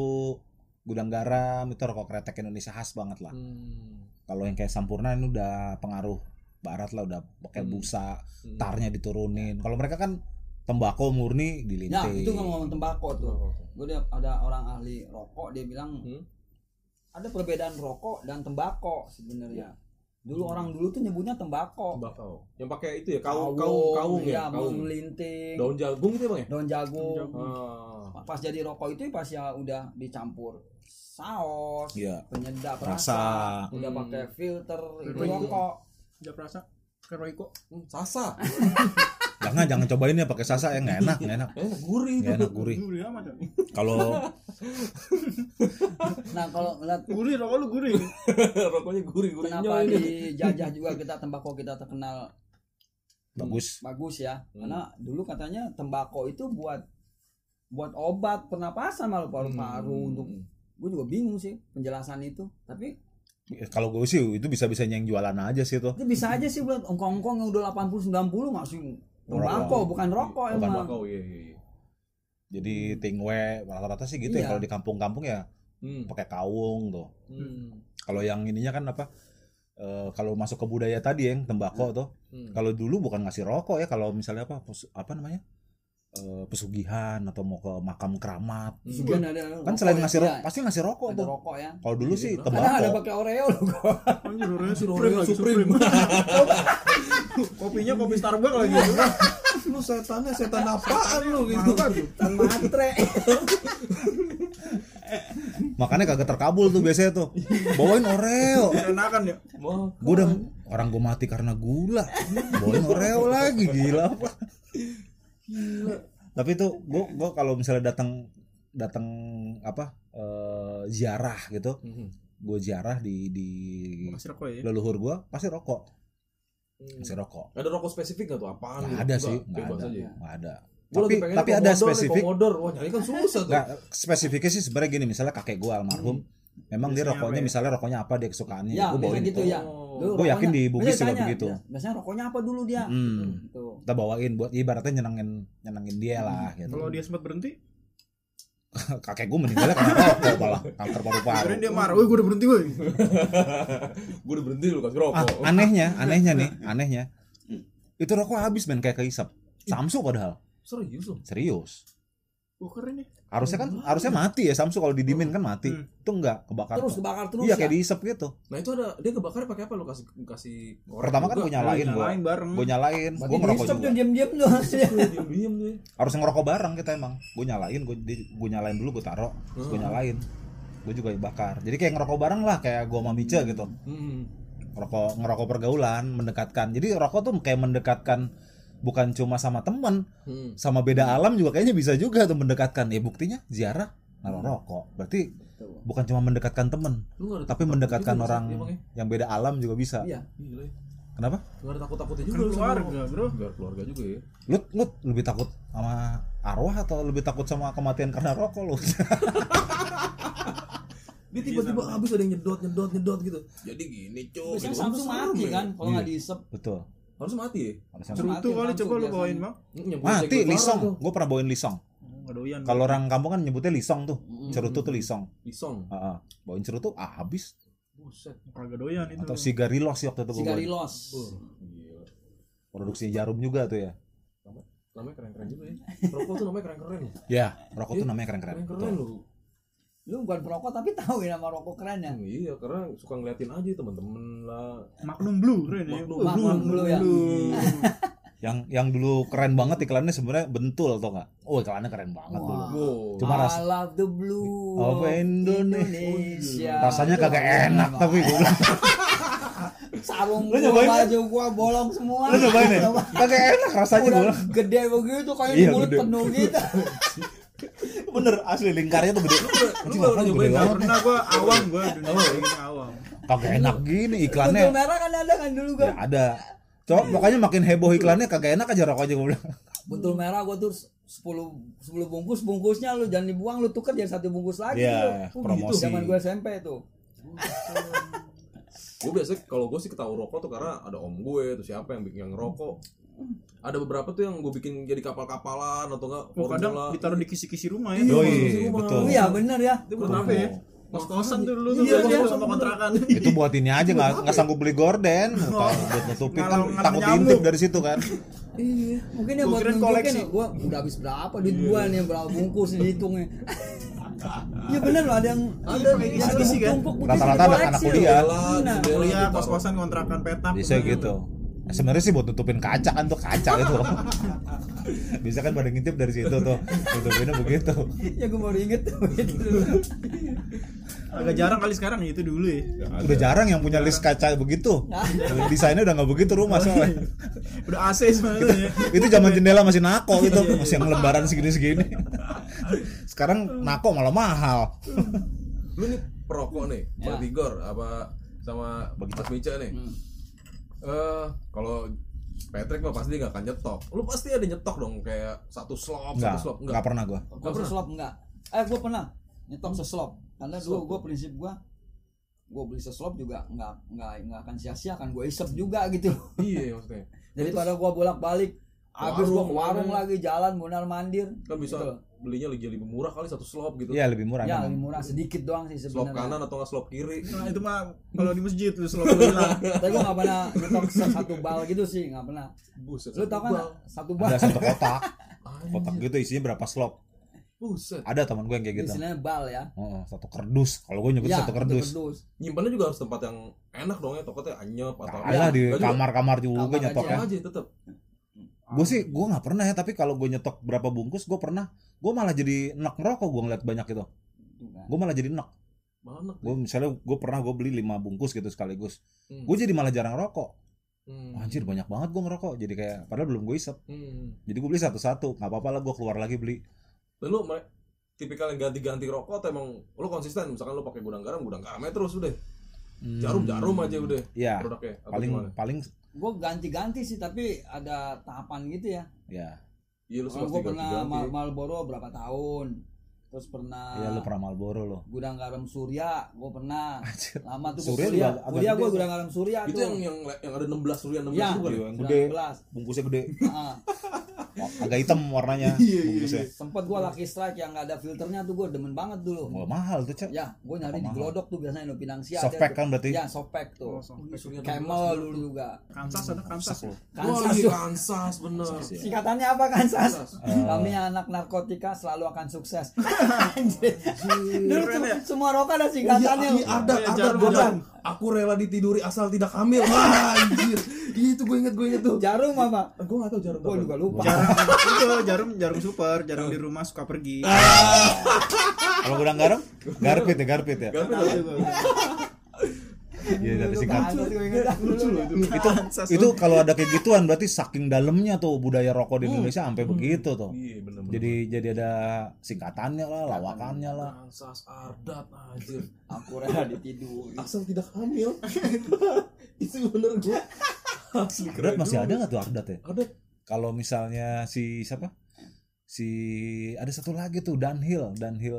Speaker 4: Gudang Garam itu rokok kretek Indonesia khas banget lah.
Speaker 3: Hmm.
Speaker 4: Kalau yang kayak Sampurna ini udah pengaruh barat lah udah pakai
Speaker 3: Hmm.
Speaker 4: busa, tarnya diturunin. Kalau mereka kan tembakau murni
Speaker 2: Ya,
Speaker 4: dilinting.
Speaker 2: itu ngomong tembakau tuh.
Speaker 3: Rokok.
Speaker 2: gue lihat ada orang ahli rokok dia bilang
Speaker 3: Hmm.
Speaker 2: ada perbedaan rokok dan tembakau sebenarnya dulu orang dulu tuh nyebutnya tembakau
Speaker 3: Tembakau. Yang pakai itu ya, kaung, kaung, kaung ya,
Speaker 4: Iya,
Speaker 2: mau
Speaker 3: kaung.
Speaker 2: melinting
Speaker 3: Daun jagung gitu Bang ya?
Speaker 2: daun jagung Hmm.
Speaker 3: Ah.
Speaker 2: pas jadi rokok itu pas ya udah dicampur saus
Speaker 4: Iya.
Speaker 2: penyedap rasa,
Speaker 4: Rasa.
Speaker 2: udah
Speaker 3: Hmm.
Speaker 2: pakai filter itu
Speaker 1: Filter.
Speaker 2: rokok
Speaker 1: Udah perasa ke Royco.
Speaker 3: Hmm,
Speaker 4: [laughs]
Speaker 3: Sasa.
Speaker 4: Jangan jangan cobain ya pakai sasa yang nggak enak, nggak enak.
Speaker 3: Ya, Enak gurih itu.
Speaker 4: Nggak enak gurih.
Speaker 1: Gurih amat. Cok.
Speaker 4: Kalau
Speaker 2: [laughs] nah kalau ngeliat
Speaker 1: Gurih rokok lu gurih.
Speaker 3: [laughs] Rokoknya gurih-gurih.
Speaker 2: kenapa
Speaker 3: Hmm.
Speaker 2: dijajah
Speaker 4: [laughs]
Speaker 2: juga kita tembakau kita terkenal
Speaker 4: bagus
Speaker 2: bagus ya
Speaker 3: Hmm.
Speaker 2: karena dulu katanya tembakau itu buat buat obat pernapasan malu
Speaker 4: Hmm.
Speaker 2: paru-paru untuk gue juga bingung sih penjelasan itu tapi
Speaker 4: kalau gue sih itu bisa-bisanya yang jualan aja sih tuh
Speaker 2: itu bisa aja sih buat ongkong-ongkong yang udah 80 90 masih tembakau
Speaker 4: Rokok.
Speaker 2: bukan rokok
Speaker 4: Bukan
Speaker 2: emang
Speaker 3: Tembakau, iya, iya, iya.
Speaker 4: jadi tingwe rata-rata sih gitu
Speaker 2: Hmm. Iya.
Speaker 4: ya kalau di kampung-kampung ya
Speaker 3: Hmm.
Speaker 4: pakai kawung tuh
Speaker 3: Hmm.
Speaker 4: kalau yang ininya kan apa eh, kalau masuk ke budaya tadi yang tembakau tuh
Speaker 3: Hmm.
Speaker 4: kalau dulu bukan ngasih rokok ya kalau misalnya apa pes- apa namanya Eh, pesugihan atau mau ke makam keramat
Speaker 2: Sugan Iya, ada
Speaker 4: kan
Speaker 2: rokok
Speaker 4: selain
Speaker 2: ya,
Speaker 4: ngasih rokok
Speaker 2: Hmm. iya.
Speaker 4: pasti ngasih rokok
Speaker 2: ada
Speaker 4: tuh
Speaker 2: rokok ya
Speaker 4: kalau dulu sih
Speaker 3: Iya,
Speaker 2: kadang ada
Speaker 4: tembakau
Speaker 2: pakai oreo loh kok
Speaker 1: Anjir Oreo
Speaker 3: Si
Speaker 1: Supreme
Speaker 3: Oreo
Speaker 1: lagi
Speaker 3: Hmm. Supreme.
Speaker 1: Supreme.
Speaker 4: [laughs]
Speaker 1: Kopinya kopi Starbucks lagi.
Speaker 3: lu setannya setan apaan lu gitu
Speaker 1: Mahal banget.
Speaker 2: kan
Speaker 4: [laughs]
Speaker 2: matre
Speaker 4: makanya kagak terkabul tuh biasanya tuh bawain oreo
Speaker 1: Enakan ya.
Speaker 3: [laughs] Wah,
Speaker 4: gue udah orang gue mati karena gula bawain oreo lagi gila apa
Speaker 3: gila.
Speaker 4: tapi itu gue gue kalau misalnya datang datang apa eh, ziarah gitu gue ziarah di di
Speaker 1: Masih rokok ya.
Speaker 4: leluhur gue pasti rokok
Speaker 3: Hmm.
Speaker 4: pasti rokok
Speaker 3: Ada rokok spesifik gak tuh? Apaan? gitu?
Speaker 4: Nggak ada sih,
Speaker 3: Nggak,
Speaker 4: nggak
Speaker 3: bebas
Speaker 4: ada.
Speaker 3: aja.
Speaker 4: nggak ada
Speaker 3: Gua lagi
Speaker 4: tapi
Speaker 3: pengen
Speaker 4: tapi
Speaker 3: nih
Speaker 4: ada
Speaker 3: Commodore nih,
Speaker 4: spesifik
Speaker 3: Commodore. Wah, nyari kan susah tuh.
Speaker 4: nggak spesifiknya sih sebenarnya gini misalnya kakek gue almarhum memang dia
Speaker 1: Biasanya
Speaker 4: rokoknya
Speaker 1: apa ya?
Speaker 4: misalnya rokoknya apa dia kesukaannya
Speaker 2: Ya,
Speaker 4: gue bawain
Speaker 2: biasanya
Speaker 4: itu
Speaker 2: gitu ya.
Speaker 3: Oh.
Speaker 2: Dulu
Speaker 4: Gua yakin
Speaker 2: rokoknya-
Speaker 4: di Bugis
Speaker 2: biasanya
Speaker 4: juga
Speaker 2: tanya,
Speaker 4: begitu.
Speaker 2: biasanya rokoknya apa dulu dia
Speaker 4: Hmm.
Speaker 2: Gitu.
Speaker 4: kita bawain buat ibaratnya nyenengin nyenengin dia lah gitu
Speaker 1: Kalau dia sempat berhenti,
Speaker 4: [laughs] kakek gue meninggalnya karena rokok malah kanker paru-paru
Speaker 1: akhirnya dia marah. Woi, gue udah berhenti, woi.
Speaker 3: Gue udah berhenti lu kasih
Speaker 4: Ah,
Speaker 3: rokok.
Speaker 4: anehnya, anehnya nih, anehnya. Itu rokok habis men kayak kehisap. Samsu padahal.
Speaker 3: Serius lu?
Speaker 4: Serius.
Speaker 1: Wah, keren ya.
Speaker 4: Harusnya kan harusnya mati ya Samsu kalau didimin kan mati.
Speaker 1: Hmm.
Speaker 4: Itu enggak kebakar.
Speaker 2: terus kebakar terus
Speaker 4: iya
Speaker 2: ya.
Speaker 4: kayak dihisap gitu.
Speaker 3: Nah, itu ada dia kebakar pakai apa lu kasih kasih korek
Speaker 4: Pertama kan
Speaker 3: juga? [laughs]
Speaker 4: gue nyalain gua.
Speaker 1: Nyalain bareng.
Speaker 4: Gue nyalain,
Speaker 2: Berarti
Speaker 4: gue ngerokok
Speaker 2: dihisap
Speaker 4: juga.
Speaker 2: tuh diam-diam tuh
Speaker 4: [laughs]
Speaker 3: Dia Diem-diem tuh. ya.
Speaker 4: Harus ngerokok bareng kita emang. Gue nyalain, gue gue nyalain dulu gue taruh, terus gue
Speaker 3: Hmm.
Speaker 4: nyalain. Gue juga bakar. Jadi kayak ngerokok bareng lah kayak gua sama Mica gitu.
Speaker 3: Hmm.
Speaker 4: Rokok ngerokok pergaulan, mendekatkan. Jadi rokok tuh kayak mendekatkan bukan cuma sama temen
Speaker 3: Hmm.
Speaker 4: sama beda alam juga kayaknya bisa juga tuh mendekatkan ya buktinya ziarah naruh rokok berarti
Speaker 2: Tuh.
Speaker 4: bukan cuma mendekatkan temen
Speaker 3: Lu nggak ada
Speaker 4: tapi
Speaker 3: takut-takut
Speaker 4: mendekatkan
Speaker 3: gitu,
Speaker 4: orang
Speaker 3: Iya, Bang, ya?
Speaker 4: yang beda alam juga bisa
Speaker 2: iya
Speaker 3: Gila ya.
Speaker 4: kenapa
Speaker 3: Nggak ada takut-takutnya
Speaker 1: Kan
Speaker 3: juga lu sama
Speaker 1: keluarga,
Speaker 3: rokok.
Speaker 1: bro. Iya,
Speaker 3: Biar keluarga juga ya.
Speaker 4: lu lu lebih takut sama arwah atau lebih takut sama kematian karena rokok lu
Speaker 3: Dia tiba-tiba habis ada yang nyedot nyedot nyedot gitu. Jadi gini, cuy.
Speaker 2: biasanya
Speaker 3: Gitu.
Speaker 2: Samsung
Speaker 3: Serem
Speaker 2: mati
Speaker 3: ya.
Speaker 2: kan kalau
Speaker 4: Iya.
Speaker 2: nggak dihisap
Speaker 4: [laughs] betul
Speaker 3: Harus mati ya.
Speaker 4: Harusnya
Speaker 1: Seru
Speaker 2: Mati,
Speaker 1: tuh kali
Speaker 2: langsung
Speaker 1: coba lu
Speaker 2: biasanya.
Speaker 1: bawain, Bang.
Speaker 3: Hmm, yang gua
Speaker 4: mati
Speaker 3: cek keluar tuh.
Speaker 4: lisong gue pernah bawain lisong
Speaker 1: Enggak doyan.
Speaker 4: kalau orang kampung kan nyebutnya lisong tuh
Speaker 2: Mm-mm.
Speaker 4: cerutu tuh lisong
Speaker 3: Lisong.
Speaker 4: Heeh. bawain cerutu ah, habis
Speaker 3: Buset.
Speaker 1: kagak doyan itu.
Speaker 4: atau sigarilos sih waktu itu gua bawain.
Speaker 2: Sigarilos.
Speaker 3: Wah, Gila.
Speaker 4: produksi jarum juga tuh ya
Speaker 3: Namanya keren-keren juga ya. Rokok tuh namanya keren-keren. ya.
Speaker 4: ya rokok tuh
Speaker 3: Iya,
Speaker 4: namanya keren-keren
Speaker 3: Keren-keren
Speaker 4: Betul.
Speaker 3: lu.
Speaker 2: Lu bukan perokok tapi tahu ya nama rokok keren ya.
Speaker 3: Hmm, Iya, karena suka ngeliatin aja temen-temen lah.
Speaker 1: Magnum Blue, keren ya.
Speaker 3: Magnum
Speaker 1: Wah,
Speaker 2: Blue, Blue ya.
Speaker 4: yang yang dulu keren banget iklannya sebenarnya bentul tau nggak oh iklannya keren banget dulu
Speaker 2: Wah.
Speaker 3: Wow.
Speaker 4: Cuma ras-
Speaker 2: I love the blue
Speaker 4: Of Indonesia.
Speaker 2: Indonesia.
Speaker 4: rasanya kagak enak tapi gue bilang
Speaker 2: sarung
Speaker 4: Lu
Speaker 2: gua,
Speaker 4: nyobain kan?
Speaker 2: baju gua bolong semua.
Speaker 4: Lu cobain ya? Kagak enak rasanya
Speaker 2: Udah
Speaker 4: gue.
Speaker 2: gede begitu kayak
Speaker 4: Iya,
Speaker 2: mulut
Speaker 4: gede.
Speaker 2: penuh
Speaker 4: [laughs]
Speaker 2: gitu.
Speaker 4: Bener asli lingkarnya tuh gede. Anjing,
Speaker 3: baru
Speaker 4: apaan gede
Speaker 3: nyobain
Speaker 1: Gak
Speaker 4: banget.
Speaker 1: pernah gue awam gue dunia ini awam.
Speaker 4: Kagak enak gini iklannya.
Speaker 2: Bentuk merah kan ada kan dulu
Speaker 4: Ya
Speaker 2: kan.
Speaker 4: ada. Coba pokoknya makin heboh iklannya kagak enak aja rokok aja gue bilang.
Speaker 2: Bentuk merah gua tuh 10 10 bungkus bungkusnya lu jangan dibuang lu tuker jadi satu bungkus lagi.
Speaker 4: Iya,
Speaker 2: lu. Oh, Gitu.
Speaker 4: promosi.
Speaker 2: Zaman gua SMP tuh.
Speaker 3: gue biasanya kalau gue sih ketahu rokok tuh karena ada om gue tuh siapa yang bikin yang ngerokok ada beberapa tuh yang gue bikin jadi kapal-kapalan atau enggak
Speaker 4: Oh,
Speaker 1: Gue kadang
Speaker 3: formula.
Speaker 1: ditaruh di kisi-kisi rumah ya.
Speaker 4: Yoi,
Speaker 1: Kisi-kisi rumah.
Speaker 4: betul.
Speaker 2: Oh, Iya bener ya.
Speaker 1: Itu buat apa ya? Kos kosan tuh dulu tuh
Speaker 2: Iya,
Speaker 1: biasanya
Speaker 2: iya.
Speaker 1: sama kontrakan.
Speaker 4: Itu buat ini aja nggak nggak sanggup beli gorden,
Speaker 1: Oh.
Speaker 4: buat nutupin kan
Speaker 1: Ngalang-ngalang
Speaker 4: takut
Speaker 1: nyamuk.
Speaker 4: intip dari situ kan.
Speaker 2: Iya, mungkin ya
Speaker 1: Gua
Speaker 2: buat
Speaker 1: kirain
Speaker 2: nunjukin
Speaker 1: koleksi.
Speaker 2: ya, gua udah habis berapa duit gua nih berapa bungkus nih dihitungnya. Iya bener loh ada yang ada
Speaker 1: pakai
Speaker 2: yang
Speaker 1: isi-isi kan?
Speaker 2: tumpuk-tumpuk
Speaker 4: Rata-rata
Speaker 2: isi
Speaker 4: anak-
Speaker 2: koleksi
Speaker 4: anak
Speaker 2: loh. Iya.
Speaker 4: kuliah.
Speaker 2: Bener.
Speaker 3: Jendela,
Speaker 1: Kuliah
Speaker 3: ditaruh.
Speaker 1: kos kosan kontrakan petak.
Speaker 4: Bisa gitu. Nah, Sebenarnya sih buat nutupin kaca kan tuh kaca itu. [laughs] Bisa kan pada ngintip dari situ tuh. Nutupinnya begitu.
Speaker 2: Ya gua baru inget tuh gitu.
Speaker 1: Agak jarang kali sekarang ya, itu dulu ya.
Speaker 4: Udah jarang yang punya list kaca begitu. Desainnya udah nggak begitu
Speaker 1: Oh,
Speaker 4: rumah
Speaker 1: iya.
Speaker 4: soalnya.
Speaker 1: [laughs] Udah AC sebenarnya.
Speaker 4: itu zaman jendela masih nako gitu masih yang lembaran segini segini sekarang nako malah mahal
Speaker 3: lu nih perokok nih Pak Tigor apa sama Mas Mica nih
Speaker 2: Hmm.
Speaker 3: eh kalau Patrick mah pasti nggak akan nyetok lu pasti ada nyetok dong kayak satu slop
Speaker 4: nggak
Speaker 3: satu slop
Speaker 4: nggak pernah gua
Speaker 2: Gua seslop enggak. Eh gua pernah nyetok seslop. Karena dulu gua prinsip gua gua beli seslop juga nggak nggak nggak akan sia-sia kan gua isep juga gitu.
Speaker 3: iya maksudnya
Speaker 2: Daripada gua bolak-balik habis gua ke warung lagi jalan mondar mandir.
Speaker 3: kan bisa
Speaker 2: Gitu. belinya
Speaker 3: belinya lebih murah kali satu slop gitu
Speaker 4: Iya lebih murah
Speaker 2: Ya
Speaker 4: memang.
Speaker 2: lebih murah sedikit doang sih
Speaker 3: slop
Speaker 2: sebenarnya.
Speaker 3: kanan atau nggak slop kiri
Speaker 1: Nah, itu mah kalau di masjid lu selalu bilang.
Speaker 2: Tapi gue gak pernah nyetok satu bal gitu sih, gak pernah.
Speaker 3: buset
Speaker 2: Lu tau kan
Speaker 3: Bang.
Speaker 2: satu bal?
Speaker 4: ada satu kotak kotak gitu isinya berapa slop
Speaker 3: buset
Speaker 4: ada teman gue yang kayak gitu
Speaker 2: Istilahnya bal ya.
Speaker 4: Oh, satu kerdus kalau gue nyebut satu kerdus
Speaker 3: nyimpannya juga harus tempat yang enak dong ya tokotnya anyep atau
Speaker 4: Nah, lah di ya.
Speaker 3: Nggak juga.
Speaker 4: kamar-kamar juga
Speaker 2: Kamar
Speaker 4: nyetoknya
Speaker 3: Sama aja tetep
Speaker 4: gue sih gue nggak pernah ya tapi kalau gue nyetok berapa bungkus gue pernah gue malah jadi enak merokok gue ngeliat banyak itu gue malah jadi enak
Speaker 3: mana
Speaker 4: gue misalnya gue pernah gue beli lima bungkus gitu sekaligus
Speaker 3: Hmm.
Speaker 4: gue jadi malah jarang rokok
Speaker 3: Hmm.
Speaker 4: anjir banyak banget gue ngerokok jadi kayak padahal belum gue isep
Speaker 3: Hmm.
Speaker 4: Jadi gue beli satu-satu, nggak apa-apa lah gue keluar lagi beli.
Speaker 3: Dan lu mere- tipikal yang ganti-ganti rokok atau emang lu konsisten misalkan lu pakai gudang garam gudang garamnya terus udah jarum jarum aja udah
Speaker 4: Iya,
Speaker 3: produknya atau
Speaker 4: Hmm. paling
Speaker 3: Hmm. gimana
Speaker 4: paling
Speaker 2: Gue ganti-ganti sih, tapi ada tahapan gitu ya.
Speaker 4: ya.
Speaker 3: iya lu
Speaker 2: Kalau
Speaker 3: sempat
Speaker 2: gue
Speaker 3: ganti
Speaker 2: pernah
Speaker 3: ganti
Speaker 2: Mal- Marlboro berapa tahun. Terus pernah
Speaker 4: Iya
Speaker 3: Ah.
Speaker 4: lu pernah Marlboro lo.
Speaker 2: Gudang Garam Surya, gue pernah.
Speaker 4: Anjir.
Speaker 2: Lama tuh Surya.
Speaker 4: Surya
Speaker 2: Surya,
Speaker 4: juga
Speaker 2: Surya
Speaker 4: agak gede
Speaker 2: gue
Speaker 4: tuh.
Speaker 2: Gudang Garam Surya
Speaker 3: itu
Speaker 2: tuh.
Speaker 3: yang yang le- yang ada 16 durian 16
Speaker 2: Iya.
Speaker 3: itu bukan ya?
Speaker 4: Yang gede,
Speaker 2: 19.
Speaker 4: bungkusnya gede,
Speaker 2: Heeh.
Speaker 4: Oh, agak hitam
Speaker 3: [laughs]
Speaker 4: warnanya.
Speaker 3: Iya,
Speaker 4: bungkusnya.
Speaker 2: Sempet gue Lucky Strike yang gak ada filternya tuh gue demen banget
Speaker 3: iya.
Speaker 2: dulu.
Speaker 4: Wah mahal tuh cek.
Speaker 2: Ya, gue nyari
Speaker 4: Apa
Speaker 2: di
Speaker 4: mahal?
Speaker 2: Glodok tuh biasanya Indo Pinang Sia.
Speaker 4: Softpack kan berarti?
Speaker 2: Ya, softpack tuh.
Speaker 1: Oh, softpack.
Speaker 3: Surya 16
Speaker 2: Camel dulu juga.
Speaker 1: Kansas ada ya? Kansas.
Speaker 4: Sak lu.
Speaker 3: Wah,
Speaker 2: Kansas
Speaker 3: iya,
Speaker 2: tuh.
Speaker 3: Kansas iya. bener
Speaker 4: ya.
Speaker 2: Singkatannya apa Kansas?
Speaker 3: Kansas.
Speaker 2: Kami anak narkotika selalu akan sukses. Anjir. Dulu
Speaker 1: Keren ya?
Speaker 2: sem- semua rokok ada
Speaker 3: Iya,
Speaker 2: singkatannya.
Speaker 3: iya, ada,
Speaker 1: Iya,
Speaker 3: ada,
Speaker 1: jarum,
Speaker 3: gua
Speaker 1: jarum.
Speaker 3: bilang, Aku rela ditiduri asal tidak hamil. Wah, anjir. Iya, itu gue inget, gue inget tuh.
Speaker 2: Jarum apa?
Speaker 3: Gue gak tau jarum
Speaker 2: Gue juga lupa.
Speaker 1: Jarang itu jarum jarum super, jarang di rumah suka pergi.
Speaker 4: Kalau gudang garam, garpit ya garpit ya.
Speaker 1: Tahu juga.
Speaker 4: Iya dari
Speaker 2: Dulu
Speaker 4: singkat.
Speaker 2: Kansas, gua ingat dulu ya.
Speaker 1: Itu
Speaker 4: Itu kalau ada kayak gituan berarti saking dalamnya tuh budaya rokok di Indonesia sampai begitu tuh.
Speaker 3: Hmm. Iya, bener bener.
Speaker 4: Jadi jadi ada singkatannya lah, lawakannya lah.
Speaker 3: Kansas Ardat anjir.
Speaker 2: Aku rela ditidur.
Speaker 3: Asal tidak [laughs] hamil. itu bener gue. Asli
Speaker 4: Ardat
Speaker 3: Iya, keren
Speaker 4: masih
Speaker 3: juga.
Speaker 4: ada nggak tuh Ardat ya?
Speaker 3: Ada.
Speaker 4: kalau misalnya si siapa si ada satu lagi tuh Dunhill Dunhill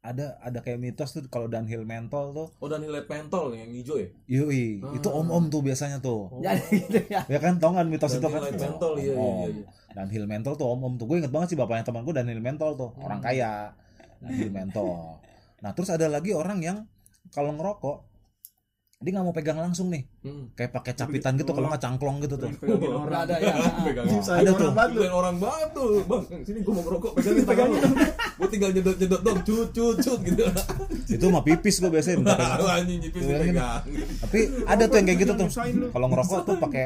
Speaker 4: ada ada kayak mitos tuh kalau Dunhill mentol tuh
Speaker 3: Oh, dan nilai pentol yang hijau ya?
Speaker 4: yui itu om om tuh biasanya tuh
Speaker 2: Jadi gitu ya.
Speaker 4: ya kan tau kan mitos itu kan
Speaker 3: Dunhill mentol, iya, iya, iya, iya.
Speaker 4: Dunhill mentol tuh om om tuh gue inget banget sih bapaknya teman gue Dunhill mentol tuh
Speaker 3: Hmm.
Speaker 4: orang kaya Dunhill mentol nah terus ada lagi orang yang kalau ngerokok dia nggak mau pegang langsung nih
Speaker 3: Hmm.
Speaker 4: kayak pakai capitan gitu kalau nggak cangklong gitu
Speaker 3: [laughs]
Speaker 4: tuh
Speaker 1: pegangin orang.
Speaker 2: Ada ya.
Speaker 3: Pegangin.
Speaker 1: Sayang
Speaker 4: Ada
Speaker 1: orang
Speaker 4: tuh.
Speaker 1: banget lu.
Speaker 3: Pegangin orang batu. Bang, sini gue mau ngerokok, pegangin tangan lu. Gue tinggal nyedot-nyedot dong, cut cut cut gitu.
Speaker 4: itu mah pipis gue biasanya bentar
Speaker 3: Lu anjing jipis
Speaker 4: Pegangin.
Speaker 3: dipegang.
Speaker 4: tapi ada tuh yang kayak gitu
Speaker 1: Jangan
Speaker 4: tuh
Speaker 1: nyusahin lu.
Speaker 4: kalau ngerokok tuh pakai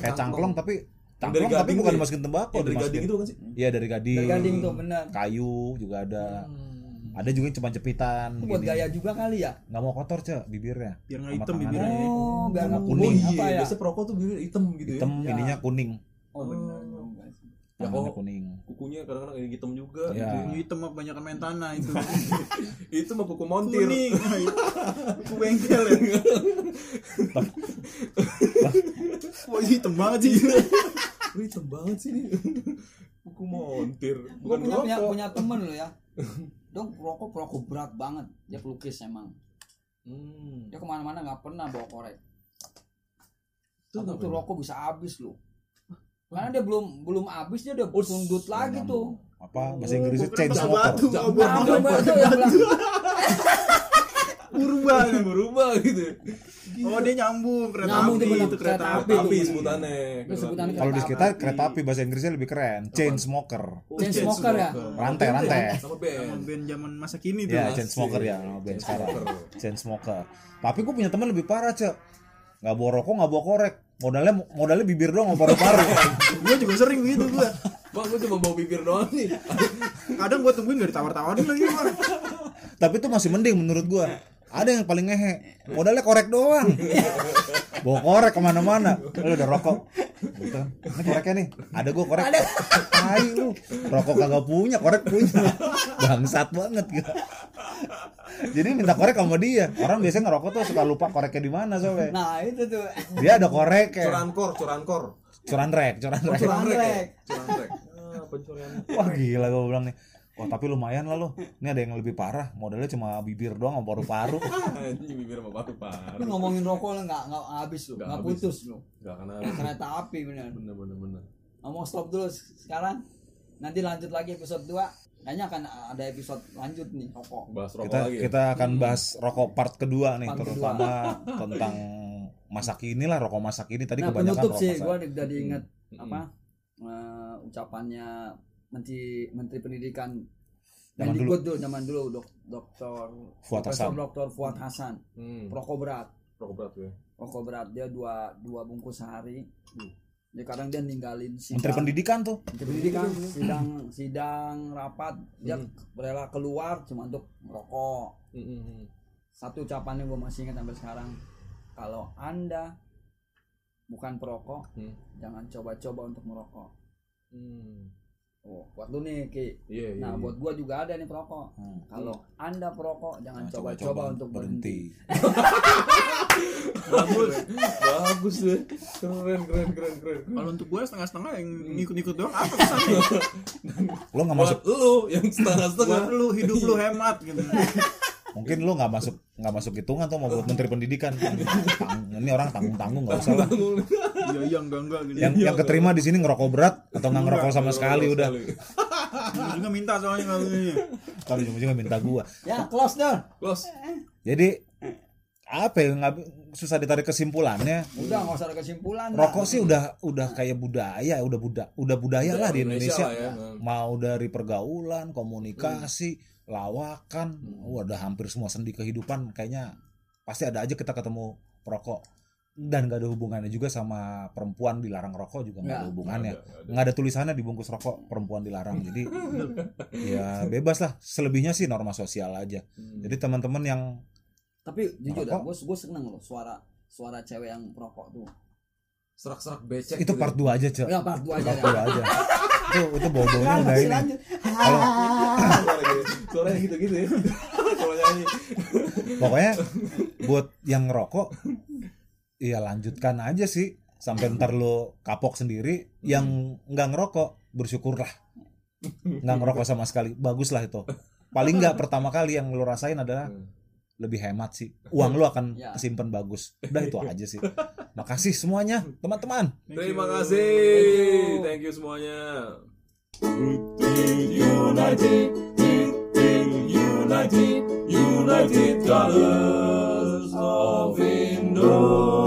Speaker 4: kayak cangklong tapi cangklong tapi
Speaker 3: gading
Speaker 4: bukan
Speaker 3: tuh ya?
Speaker 4: dimasukin Iya, tembakau
Speaker 3: Oh, dari gading
Speaker 4: dimasukin
Speaker 3: itu kan sih?
Speaker 4: iya dari gading
Speaker 2: Gading tuh benar.
Speaker 3: Hmm.
Speaker 4: kayu juga ada Ada juga yang cuma jepitan
Speaker 2: Itu buat
Speaker 4: gini.
Speaker 2: gaya juga kali ya
Speaker 4: Nggak mau kotor, Cek, bibirnya.
Speaker 1: biar nggak
Speaker 4: Sama
Speaker 1: hitam
Speaker 4: tangannya.
Speaker 1: bibirnya ya.
Speaker 2: oh biar
Speaker 4: Sama
Speaker 2: nggak
Speaker 4: kuning.
Speaker 2: kuning apa ya
Speaker 3: iya. biasanya perokok tuh bibir hitam gitu
Speaker 4: Hitam
Speaker 3: ya.
Speaker 2: Ya.
Speaker 4: ininya kuning.
Speaker 2: oh benar juga sih.
Speaker 3: Ya,
Speaker 4: Tangannya
Speaker 3: kok-
Speaker 4: kuning.
Speaker 3: Kukunya kadang-kadang ini hitam juga.
Speaker 4: Ya.
Speaker 1: Ini hitam mah kebanyakan main tanah [laughs] itu
Speaker 3: Itu mah kuku montir.
Speaker 1: kuning kuku bengkel ya [laughs] Wah, ini hitam banget sih
Speaker 3: Lu hitam banget sih [laughs] nih. Kuku montir.
Speaker 2: Gue
Speaker 3: Bukan
Speaker 2: punya, punya,
Speaker 3: perokok.
Speaker 2: punya temen lo ya Dong perokok perokok berat banget Dia pelukis emang
Speaker 3: Hmm.
Speaker 2: Dia kemana-mana nggak pernah bawa korek
Speaker 3: Itu
Speaker 2: Tapi tuh
Speaker 3: ngapain?
Speaker 2: rokok bisa habis lo Karena dia belum belum habis dia udah tundut lagi tuh
Speaker 4: Apa bahasa
Speaker 1: Oh,
Speaker 4: Inggrisnya
Speaker 1: Bukan
Speaker 4: chain
Speaker 1: pakai
Speaker 4: smoker.
Speaker 1: batu,
Speaker 3: Jam-
Speaker 1: obor.
Speaker 2: Nah, belum baru tuh yang bilang
Speaker 1: Purba.
Speaker 3: berubah gitu. ya.
Speaker 1: oh dia nyambung kereta
Speaker 2: Nyambung
Speaker 1: api
Speaker 2: dia bilang
Speaker 1: itu kereta
Speaker 2: kereta
Speaker 1: api
Speaker 2: api.
Speaker 3: Tapi
Speaker 2: Iya.
Speaker 3: sebutannya.
Speaker 2: Itu sebutannya
Speaker 4: Kalau di
Speaker 2: Kereta
Speaker 4: sekitar kereta api bahasa Inggrisnya lebih keren, chain smoker.
Speaker 3: Oh,
Speaker 2: Chain smoker ya?
Speaker 4: Rantai,
Speaker 3: Iya.
Speaker 4: rantai.
Speaker 3: Sama
Speaker 1: Sama
Speaker 3: band.
Speaker 1: Iya, band zaman masa kini tuh
Speaker 4: Ya,
Speaker 1: Mas.
Speaker 4: chain smoker ya, nama band sekarang.
Speaker 3: Smoker.
Speaker 4: Chain smoker. Tapi gue punya teman lebih parah, Cek. Nggak bawa rokok, nggak bawa korek. Modalnya modalnya bibir doang, sama paru-paru.
Speaker 1: gue juga sering gitu gue
Speaker 3: Bang, gue cuma bawa bibir doang nih.
Speaker 1: kadang gue tungguin gak ditawar-tawarin lagi Bang.
Speaker 4: Tapi itu masih mending menurut gua. Ada yang paling ngehe. Modalnya korek doang. Bawa korek kemana-mana. Lu udah rokok. Gitu kan. Ini koreknya nih. Ada gua korek. Ada. Tai lu. Rokok kagak punya, korek punya. Bangsat banget gua. Jadi minta korek sama dia. Orang biasanya ngerokok tuh suka lupa koreknya di mana soalnya.
Speaker 2: Nah itu tuh
Speaker 4: Dia ada korek ya.
Speaker 3: Curankor, curankor.
Speaker 4: Curan rek, curan rek.
Speaker 2: Curanrek.
Speaker 3: Curanrek. Ah, pencurian.
Speaker 4: Wah gila gua bilang nih. Wah tapi lumayan lah lo. Ini ada yang lebih parah. Modalnya cuma bibir doang sama paru-paru.
Speaker 3: Anjing bibir sama paru-paru.
Speaker 2: Lu ngomongin rokok lo nggak nggak habis lo
Speaker 3: Nggak
Speaker 2: nggak
Speaker 3: habis.
Speaker 2: putus lo
Speaker 3: Enggak kena.
Speaker 2: Kereta api bener
Speaker 3: Bener bener bener.
Speaker 2: Ngomong stop dulu sekarang Nanti lanjut lagi episode 2 Kayaknya akan ada episode lanjut nih rokok
Speaker 3: Bahas rokok
Speaker 4: kita
Speaker 3: lagi. ya?
Speaker 4: kita akan bahas rokok part kedua nih
Speaker 2: Part
Speaker 4: terutama tentang masa kini lah rokok masa kini tadi
Speaker 2: nah
Speaker 4: kebanyakan
Speaker 2: penutup
Speaker 4: rokok
Speaker 2: sih
Speaker 4: masa-
Speaker 2: gue udah diinget
Speaker 3: Mm-mm.
Speaker 2: apa
Speaker 4: Hmm.
Speaker 2: eh, ucapannya menteri menteri pendidikan
Speaker 4: Zaman
Speaker 2: Mendikbud
Speaker 4: dulu.
Speaker 2: dulu zaman dulu dok, dokter
Speaker 4: Fuad
Speaker 2: Profesor
Speaker 4: Hasan.
Speaker 2: dokter Fuad Hasan
Speaker 3: Hmm.
Speaker 2: rokok berat
Speaker 3: Rokok berat ya.
Speaker 2: rokok berat dia dua dua bungkus sehari
Speaker 3: Hmm.
Speaker 2: dia kadang dia ninggalin sidang
Speaker 4: menteri Hmm. pendidikan tuh
Speaker 2: Menteri pendidikan sidang sidang rapat dia
Speaker 4: Hmm.
Speaker 2: rela keluar cuma untuk merokok
Speaker 3: Mm-mm.
Speaker 2: satu ucapannya gue masih ingat sampai sekarang kalau anda bukan perokok
Speaker 3: Hmm.
Speaker 2: jangan coba-coba untuk merokok
Speaker 3: Hmm.
Speaker 2: oh, buat lu nih Ki
Speaker 3: Iya iya.
Speaker 2: nah
Speaker 3: iya.
Speaker 2: buat gua juga ada nih perokok
Speaker 4: Hmm.
Speaker 2: kalau anda perokok jangan
Speaker 4: Nah,
Speaker 2: coba-coba untuk berhenti
Speaker 3: bagus. bagus deh. Keren keren keren keren.
Speaker 1: kalau untuk gue setengah-setengah yang ngikut-ngikut doang apa pesannya
Speaker 4: lo nggak masuk
Speaker 3: Buat lu yang setengah-setengah.
Speaker 4: [laughs]
Speaker 1: buat lu hidup lu hemat gitu
Speaker 4: mungkin lo nggak masuk nggak masuk hitungan tuh mau buat menteri pendidikan Tang- ini orang tanggung tanggung nggak usah lah
Speaker 1: iya iya enggak enggak gitu
Speaker 4: yang yang keterima di sini ngerokok berat atau nggak ngerokok sama sekali udah
Speaker 1: Gua juga minta soalnya kalau ini
Speaker 4: kalau ujung-ujungnya minta gua
Speaker 2: ya close door
Speaker 3: Close.
Speaker 4: jadi apa ya nggak susah ditarik kesimpulannya
Speaker 2: udah nggak usah ada kesimpulan lah.
Speaker 4: rokok Iya. sih udah udah kayak budaya udah buda, udah budaya lah di Indonesia,
Speaker 3: lah ya. Hmm.
Speaker 4: mau dari pergaulan komunikasi lawakan wah, udah hampir semua sendi kehidupan kayaknya pasti ada aja kita ketemu perokok dan gak ada hubungannya juga sama perempuan dilarang rokok juga nggak ada
Speaker 2: Nggak,
Speaker 4: hubungannya
Speaker 3: Ada, ada.
Speaker 4: nggak ada tulisannya di bungkus rokok perempuan dilarang jadi ya bebas lah selebihnya sih norma sosial aja
Speaker 3: Hmm.
Speaker 4: jadi teman-teman yang
Speaker 2: tapi jujur dah
Speaker 4: Merokok.
Speaker 2: gue gue seneng loh suara suara cewek yang perokok tuh
Speaker 3: serak-serak becek.
Speaker 4: itu
Speaker 3: gitu.
Speaker 4: part 2 aja cek
Speaker 2: ya part dua aja
Speaker 4: part
Speaker 2: ya
Speaker 4: 2 aja itu itu bodohnya
Speaker 2: Nah,
Speaker 4: Iya. udah
Speaker 2: masih
Speaker 4: ini
Speaker 2: lanjut.
Speaker 3: Suara gitu. [laughs] Suaranya gitu-gitu
Speaker 4: [laughs]
Speaker 3: ya. gitu. Kalau nyanyi.
Speaker 4: pokoknya buat yang ngerokok ya lanjutkan aja sih sampai ntar lo kapok sendiri yang nggak ngerokok bersyukurlah nggak ngerokok sama sekali baguslah itu paling nggak pertama kali yang lo rasain adalah
Speaker 3: Hmm.
Speaker 4: lebih hemat sih uang lo akan
Speaker 2: Ya.
Speaker 4: simpen bagus udah itu aja sih makasih semuanya teman-teman
Speaker 3: Terima kasih. Thank you semuanya. United, United, United Colors of Indo.